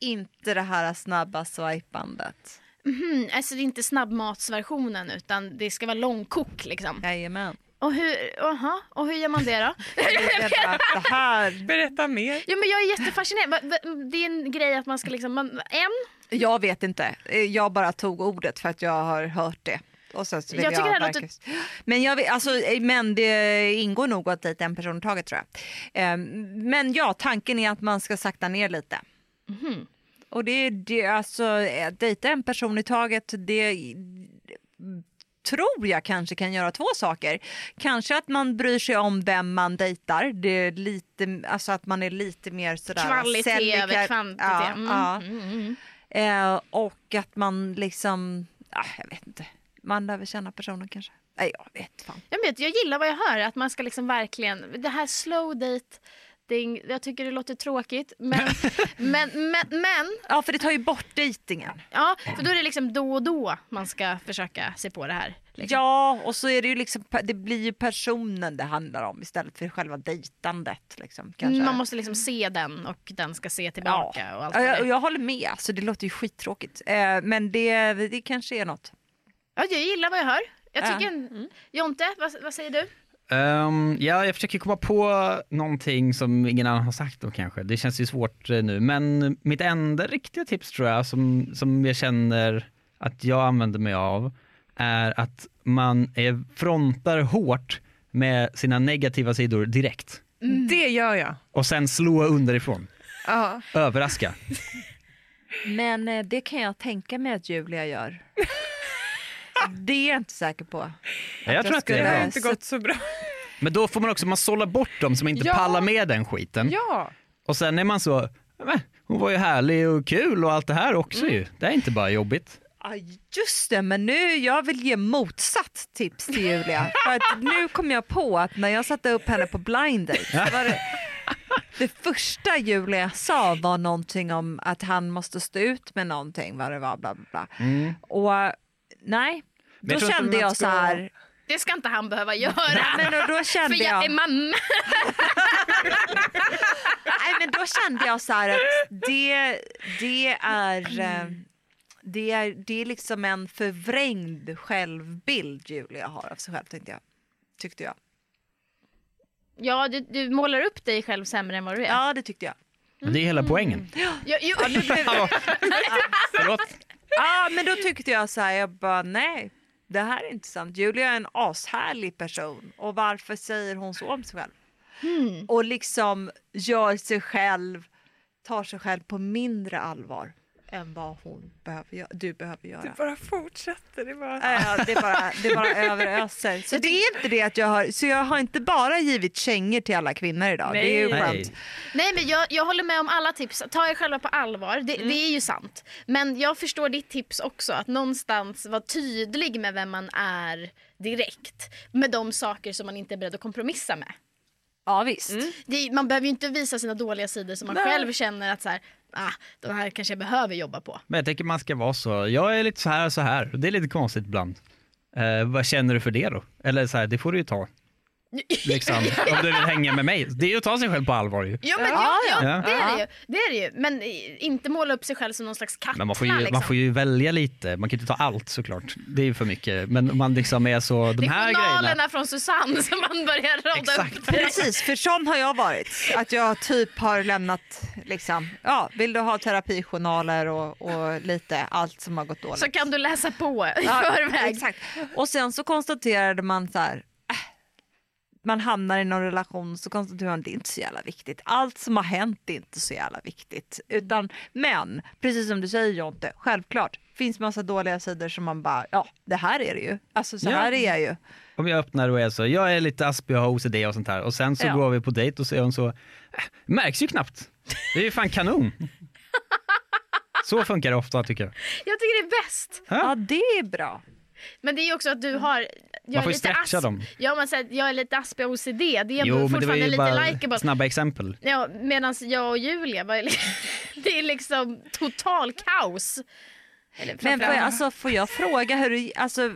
Speaker 1: Inte det här snabba swipandet.
Speaker 2: Mhm, alltså det är inte snabbmatsversionen utan det ska vara långkok liksom.
Speaker 1: Jajamän.
Speaker 2: Och hur, aha, och hur gör man det då?
Speaker 1: Det, är bara, det här.
Speaker 4: Berätta mer.
Speaker 2: Jo men jag är jättefascinerad. Va- va- Det är en grej att man ska liksom, man, en,
Speaker 1: Jag vet inte. Eh, Jag bara tog ordet för att jag har hört det. Och sen så vill
Speaker 2: Jag
Speaker 1: jag
Speaker 2: tycker det här
Speaker 1: verka- men, jag, vet- alltså, eh, men det ingår nog att dejta en person i taget tror jag. Eh, Men ja, tanken är att man ska sakta ner lite. Och det är det, alltså, eh, dejta en person i taget, det tror jag kanske kan göra två saker. Kanske att man bryr sig om vem man dejtar, det är lite, alltså att man är lite mer sådär...
Speaker 2: kvalitet
Speaker 1: selektiv.
Speaker 2: över kvantitet.
Speaker 1: Ja,
Speaker 2: Mm,
Speaker 1: ja.
Speaker 2: mm, mm, mm.
Speaker 1: Eh, och att man liksom, ah, jag vet inte, man lär väl känna personen kanske. Nej, jag vet fan.
Speaker 2: Jag, vet, jag gillar vad jag hör, att man ska liksom verkligen, det här slow date Ding. Jag tycker det låter tråkigt men, men, men, men
Speaker 1: Ja, för det tar ju bort dejtingen.
Speaker 2: ja, för då är det liksom då och då man ska försöka se på det här. Liksom.
Speaker 1: Ja, och så är det ju liksom, det blir ju personen det handlar om istället för själva dejtandet. Liksom, kanske.
Speaker 2: Man måste liksom se den och den ska se tillbaka och allt vad det
Speaker 1: jag,
Speaker 2: är.
Speaker 1: och jag håller med, så det låter ju skittråkigt. Eh, men det, det kanske är något.
Speaker 2: Ja, jag gillar vad jag hör. Jag
Speaker 1: Ja. Mm.
Speaker 2: tycker en... Jonte, vad, vad säger du?
Speaker 3: Ehm, ja, jag försöker komma på någonting som ingen annan har sagt då kanske. Det känns ju svårt eh, nu. Men mitt enda riktiga tips tror jag, som, som jag känner att jag använder mig av, är att man eh, frontar hårt med sina negativa sidor direkt.
Speaker 4: Mm. Det gör jag.
Speaker 3: Och sen slå underifrån.
Speaker 4: Ja.
Speaker 3: Överraska.
Speaker 1: Men eh, det kan jag tänka mig att Julia gör. det är jag inte säker på.
Speaker 3: Jag,
Speaker 1: jag
Speaker 3: tror att det
Speaker 1: skulle-
Speaker 4: Det
Speaker 3: är
Speaker 4: har
Speaker 3: bra.
Speaker 4: inte gått så bra.
Speaker 3: Men då får man också, man sållar bort dem som inte
Speaker 4: Ja.
Speaker 3: pallar med den skiten.
Speaker 4: Ja,
Speaker 3: Och sen är man så, "Äh, hon var ju härlig och kul och allt det här också
Speaker 4: Mm.
Speaker 3: ju. Det är inte bara jobbigt.
Speaker 1: Ja, just det, men nu jag vill ge motsatt tips till Julia. För att nu kom jag på att när jag satte upp henne på blind date, så var det, det första Julia sa var någonting om att han måste stå ut med någonting, vad det var, bla bla bla. Och nej,
Speaker 3: Men
Speaker 1: då
Speaker 3: jag tror inte
Speaker 1: kände
Speaker 3: man
Speaker 1: jag
Speaker 3: ska-
Speaker 1: så här,
Speaker 2: Det ska inte han behöva göra.
Speaker 1: nej, men då
Speaker 2: För
Speaker 1: kände
Speaker 2: jag
Speaker 1: jag,
Speaker 2: är mamma.
Speaker 1: nej, men då kände jag så här att det, det är eh, det är, det är liksom en förvrängd självbild Julia har av sig själv tänkte jag. Tyckte jag.
Speaker 2: Ja, du, du målar upp dig själv sämre än vad du är.
Speaker 1: Ja, det tyckte jag.
Speaker 3: Men det är hela poängen.
Speaker 2: Jag, jag,
Speaker 3: Förlåt.
Speaker 1: Ja, men då tyckte jag så här, jag bara nej, det här är inte sant. Julia är en ashärlig person och varför säger hon så om sig själv? Och liksom gör sig själv, tar sig själv på mindre allvar än vad hon behöver, gö- du behöver göra.
Speaker 4: det bara fortsätter. Det bara...
Speaker 1: Ja, det bara, det bara överöser. Så det är inte det att jag har, så jag har inte bara givit kängor till alla kvinnor idag. Det är ju skönt.
Speaker 3: Nej.
Speaker 2: Nej men jag, jag håller med om alla tips. Ta er själva på allvar. Det, det är ju sant. Men jag förstår ditt tips också. Att någonstans vara tydlig med vem man är direkt. Med de saker som man inte är beredd att kompromissa med. Mm.
Speaker 1: Ja, visst.
Speaker 2: Det, är- man behöver ju inte visa sina dåliga sidor som man själv känner att så här, ah, de här kanske jag behöver jobba på.
Speaker 3: Men jag tänker man ska vara så. Jag är lite så här och så här. Det är lite konstigt ibland. Eh, vad känner du för det då? Eller så här, det får du ju ta. Liksom, om du vill hänga med mig. Det är ju att ta sig själv på allvar ju.
Speaker 2: Jo men ja, ja,
Speaker 3: ja.
Speaker 2: Det, är det, ju, det är det ju. Men i- inte måla upp sig själv som någon slags kattna.
Speaker 3: Men man får, ju,
Speaker 2: liksom.
Speaker 3: man får ju välja lite. Man kan ju inte ta allt såklart. Det är ju för mycket. Men om man liksom är så, de
Speaker 2: det är
Speaker 3: här
Speaker 2: journalerna
Speaker 3: grejerna.
Speaker 2: från Susanne som man börjar rada upp.
Speaker 3: Exakt.
Speaker 1: Precis, för sån har jag varit. Att jag typ har lämnat, liksom, ja, vill du ha terapijournaler och, och lite allt som har gått dåligt.
Speaker 2: Så kan du läsa på i
Speaker 1: Ja,
Speaker 2: förväg.
Speaker 1: Exakt. Och sen så konstaterade man så här, äh, man hamnar i någon relation så konstaterar man det är inte så jävla viktigt. Allt som har hänt är inte så jävla viktigt. Utan, men, precis som du säger Jonte, självklart finns massa dåliga sidor som man bara, ja det här är det ju. Alltså så
Speaker 3: Ja.
Speaker 1: här är jag ju.
Speaker 3: Om jag öppnar och är så, jag är lite aspig och har OCD och sånt här. Och sen så
Speaker 1: Ja.
Speaker 3: går vi på dejt och så är hon så, äh, märks ju knappt. Det är ju fan kanon. Så funkar det ofta tycker jag.
Speaker 2: Jag tycker det är bäst.
Speaker 1: Ja det är bra.
Speaker 2: Men det är ju också att du
Speaker 1: Mm.
Speaker 2: har... Jag
Speaker 3: Man får
Speaker 2: är
Speaker 3: ju
Speaker 2: lite
Speaker 3: stretcha
Speaker 2: asp-
Speaker 3: dem.
Speaker 2: Ja, man säger att jag är lite aspig och OCD. Det är
Speaker 3: Jo,
Speaker 2: ändå
Speaker 3: men det var
Speaker 2: fortfarande
Speaker 3: ju
Speaker 2: lite
Speaker 3: bara
Speaker 2: likeable.
Speaker 3: snabba exempel.
Speaker 2: Ja, Medan jag och Julia, var, det är liksom total kaos. Eller
Speaker 1: Men får
Speaker 2: framförallt-
Speaker 1: jag, alltså, får jag fråga hur du, alltså,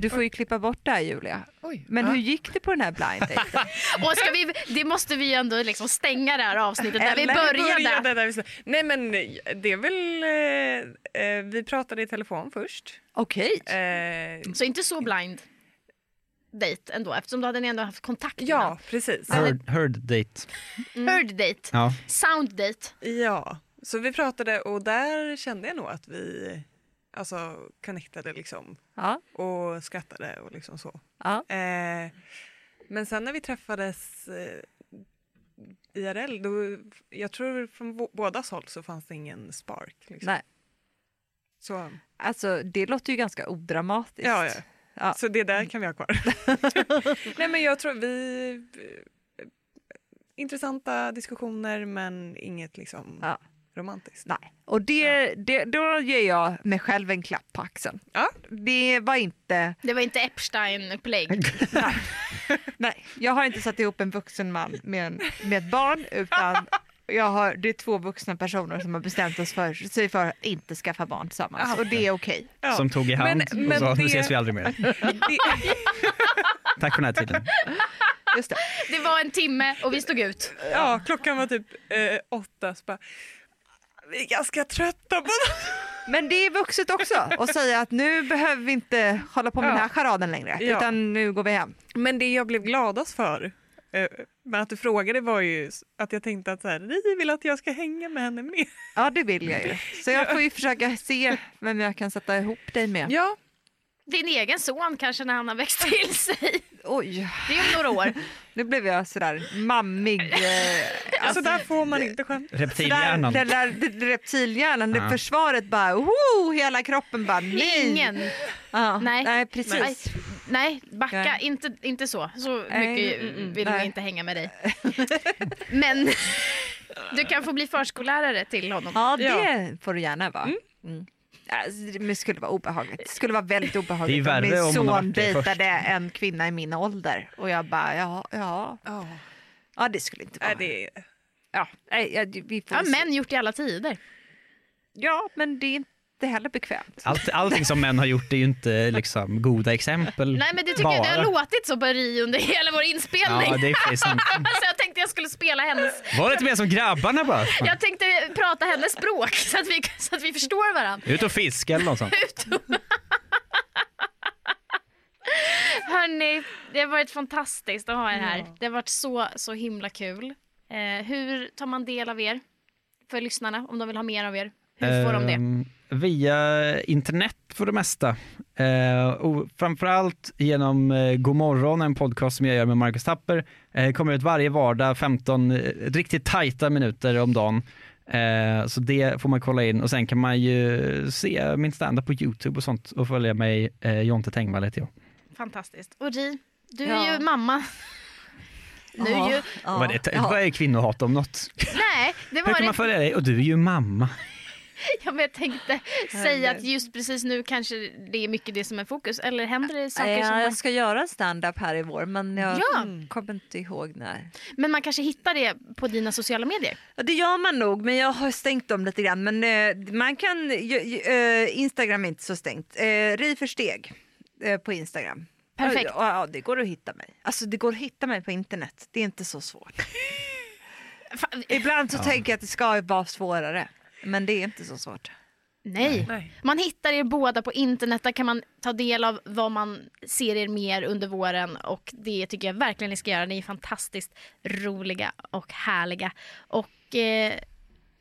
Speaker 1: Du får ju klippa bort det här Julia. Men hur gick det på den här blind daten?
Speaker 2: Och ska vi, det måste vi ju ändå liksom stänga det här avsnittet där vi
Speaker 1: Eller
Speaker 2: började.
Speaker 4: där vi sa- Nej men det är väl, eh, eh, vi pratade i telefon först.
Speaker 1: Okej.
Speaker 4: Eh,
Speaker 2: Så inte så blind date ändå eftersom då hade ni ändå haft kontakt
Speaker 4: ja, precis.
Speaker 2: Alltså-
Speaker 3: Heard, heard date.
Speaker 2: innan. Heard date,
Speaker 3: Ja.
Speaker 2: sound date.
Speaker 4: Ja, så vi pratade och där kände jag nog att vi alltså, connectade liksom
Speaker 1: Ja.
Speaker 4: och skrattade och liksom så.
Speaker 1: Ja.
Speaker 4: Eh, men sen när vi träffades eh, IRL, då, jag tror från bå- bådas håll så fanns det ingen spark. Liksom.
Speaker 1: Nej.
Speaker 4: Så,
Speaker 1: Alltså det låter ju ganska odramatiskt.
Speaker 4: ja, ja.
Speaker 1: Ja.
Speaker 4: så det där kan vi ha kvar. Nej men jag tror vi... eh, Intressanta diskussioner men inget liksom
Speaker 1: Ja.
Speaker 4: romantiskt.
Speaker 1: Nej. Och det, det, då ger jag mig själv en klapp på axeln.
Speaker 4: Ja.
Speaker 1: Det var inte...
Speaker 2: Det var inte Epstein-upplägg.
Speaker 1: Nej, jag har inte satt ihop en vuxen man med, en, med ett barn utan jag har, det är två vuxna personer som har bestämt oss för, sig för att inte skaffa barn tillsammans och det är okej.
Speaker 4: Ja.
Speaker 3: Som tog i hand
Speaker 4: Men-
Speaker 3: och
Speaker 4: men
Speaker 3: sa nu
Speaker 4: det-
Speaker 3: ses vi aldrig mer.
Speaker 4: Det-
Speaker 3: Tack för den här tiden.
Speaker 1: Just det.
Speaker 2: Det var en timme och vi stod ut.
Speaker 4: Ja, klockan var typ eh, åtta. Så bara, vi är ganska trötta på det.
Speaker 1: Men det är vuxet också att säga att nu behöver vi inte hålla på med den här charaden längre
Speaker 4: Ja.
Speaker 1: utan nu går vi hem.
Speaker 4: Men det jag blev gladast för eh, med att du frågade var ju s- att jag tänkte att så här, Ri vill att jag ska hänga med henne mer.
Speaker 1: Ja det vill jag ju. Så jag får ju försöka se vem jag kan sätta ihop dig med.
Speaker 4: Ja,
Speaker 2: Din egen son kanske när han har växt till sig.
Speaker 1: Oj,
Speaker 2: Det är om några år.
Speaker 1: nu blev jag sådär mammig. Eh,
Speaker 4: alltså där får man inte skämta.
Speaker 3: Reptilhjärnan.
Speaker 1: Den där den där reptilhjärnan, det
Speaker 3: Ja.
Speaker 1: försvaret bara, oh, hela kroppen bara nej.
Speaker 2: Ingen.
Speaker 1: Ja,
Speaker 2: Nej.
Speaker 1: nej precis.
Speaker 2: Nej, nej backa.
Speaker 1: Nej.
Speaker 2: Inte, inte så. Så
Speaker 1: Nej,
Speaker 2: mycket
Speaker 1: mm, mm,
Speaker 2: vill vi
Speaker 1: nej.
Speaker 2: inte hänga med dig. Men du kan få bli förskollärare till honom.
Speaker 1: Ja, det får du gärna vara. Mm. Alltså, det skulle vara obehagligt. Det skulle vara väldigt obehagligt
Speaker 3: Det är värre
Speaker 1: min
Speaker 3: om hon har
Speaker 1: son
Speaker 3: varit det först.
Speaker 1: dejtade en kvinna i min ålder och jag bara ja, ja,
Speaker 4: Ja,
Speaker 1: ja det skulle inte vara.
Speaker 4: nej, det är...
Speaker 1: ja, nej, ja, det- vi får
Speaker 2: Ja,
Speaker 1: se.
Speaker 2: män gjort i alla tider.
Speaker 1: ja, men det är inte heller bekvämt.
Speaker 3: Allt, allting som män har gjort är ju inte liksom goda exempel.
Speaker 2: Nej men det tycker
Speaker 3: bara.
Speaker 2: jag, det har låtit så på Ri under hela vår inspelning.
Speaker 3: Ja, det är faktiskt sant.
Speaker 2: Så jag tänkte jag skulle spela hennes,
Speaker 3: Var lite mer som grabbarna bara.
Speaker 2: jag tänkte prata hennes språk så att vi, så att vi förstår varandra.
Speaker 3: Ut och fiska eller något sånt.
Speaker 2: Hörni, det har varit fantastiskt att ha er här. Det har varit så, så himla kul. Eh, hur tar man del av er? För lyssnarna, om de vill ha mer av er. Hur får de det?
Speaker 3: Ehm, Via internet för det mesta. Eh, och framförallt genom eh, Godmorgon, en podcast som jag gör med Marcus Tapper. Eh, kommer ut varje vardag, 15 eh, riktigt tajta minuter om dagen. Eh, så det får man kolla in och sen kan man ju se min standup på Youtube och sånt och följa mig, eh, Jonte Tengvall heter jag.
Speaker 2: Fantastiskt. Och Ri, du är
Speaker 1: Ja.
Speaker 2: ju mamma. Nu är
Speaker 1: Ja,
Speaker 2: ju,
Speaker 1: ja,
Speaker 3: Vad, är det,
Speaker 1: ja.
Speaker 3: vad är kvinnohat om något?
Speaker 2: nej, det
Speaker 3: Hur
Speaker 2: var
Speaker 3: kan man
Speaker 2: det.
Speaker 3: följa dig? Och du är ju mamma.
Speaker 2: Ja, men jag tänkte säga att just precis nu kanske det är mycket det som är fokus. Eller händer det saker som...
Speaker 1: Ja,
Speaker 2: Man,
Speaker 1: jag ska göra stand-up här i vår men jag mm,
Speaker 2: Ja.
Speaker 1: kommer inte ihåg när.
Speaker 2: men man kanske hittar det på dina sociala medier.
Speaker 1: Ja, det gör man nog, men jag har stängt dem lite grann. Men eh, man kan, ju- ju- eh, Instagram är inte så stängt. Eh, Ri för steg eh, på Instagram.
Speaker 2: Perfekt.
Speaker 1: Ja, ja, det går att hitta mig. Alltså det går att hitta mig på internet. Det är inte så svårt.
Speaker 2: Fan,
Speaker 1: Ibland så tänker jag att det ska vara svårare. Men det är inte så svårt.
Speaker 2: Nej.
Speaker 4: Nej.
Speaker 2: Man hittar er båda på internet. Där kan man ta del av vad man ser er mer under våren. Och Det tycker jag verkligen ni ska göra. Ni är fantastiskt roliga och härliga. Och eh,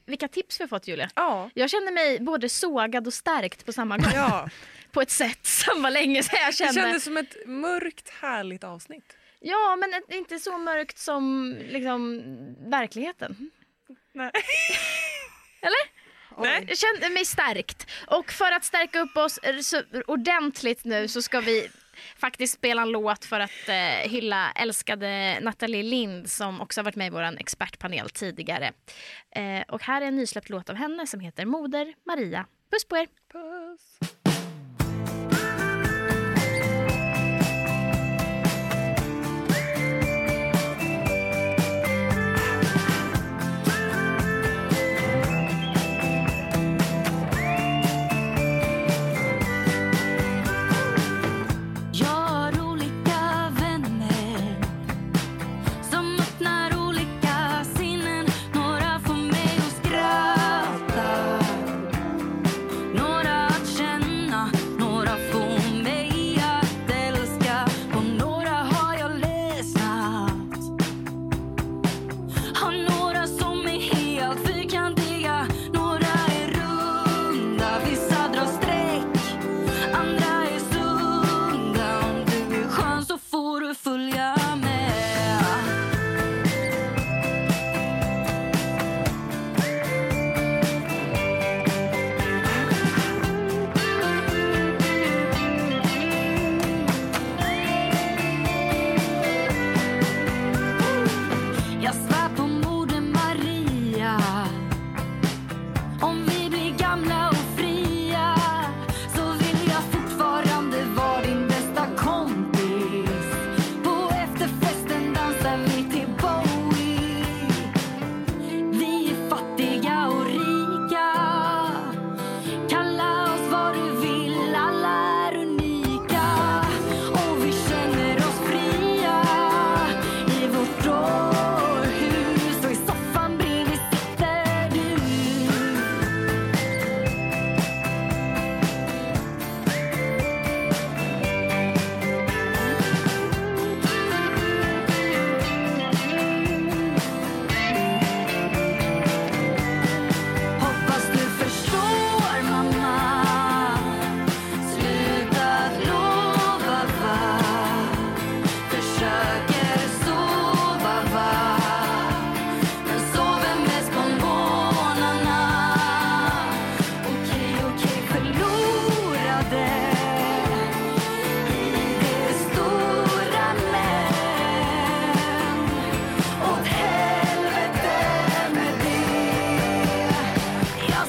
Speaker 2: Vilka tips vi har fått, Julia.
Speaker 4: Ja.
Speaker 2: Jag känner mig både sågad och stärkt på samma gång.
Speaker 4: Ja,
Speaker 2: På ett sätt som var länge sedan jag
Speaker 4: det
Speaker 2: kände.
Speaker 4: kändes som ett mörkt härligt avsnitt.
Speaker 2: Ja, men ett- inte så mörkt som liksom, verkligheten.
Speaker 4: Nej.
Speaker 2: Eller?
Speaker 4: Nej.
Speaker 2: Jag kände mig stärkt. Och för att stärka upp oss eh, så ordentligt nu så ska vi faktiskt spela en låt för att eh, hylla älskade Nathalie Lind som också har varit med i vår expertpanel tidigare. Eh, och här är en nysläppt låt av henne som heter Moder Maria. Puss på er!
Speaker 4: Puss.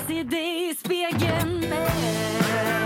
Speaker 9: se dig i spegeln.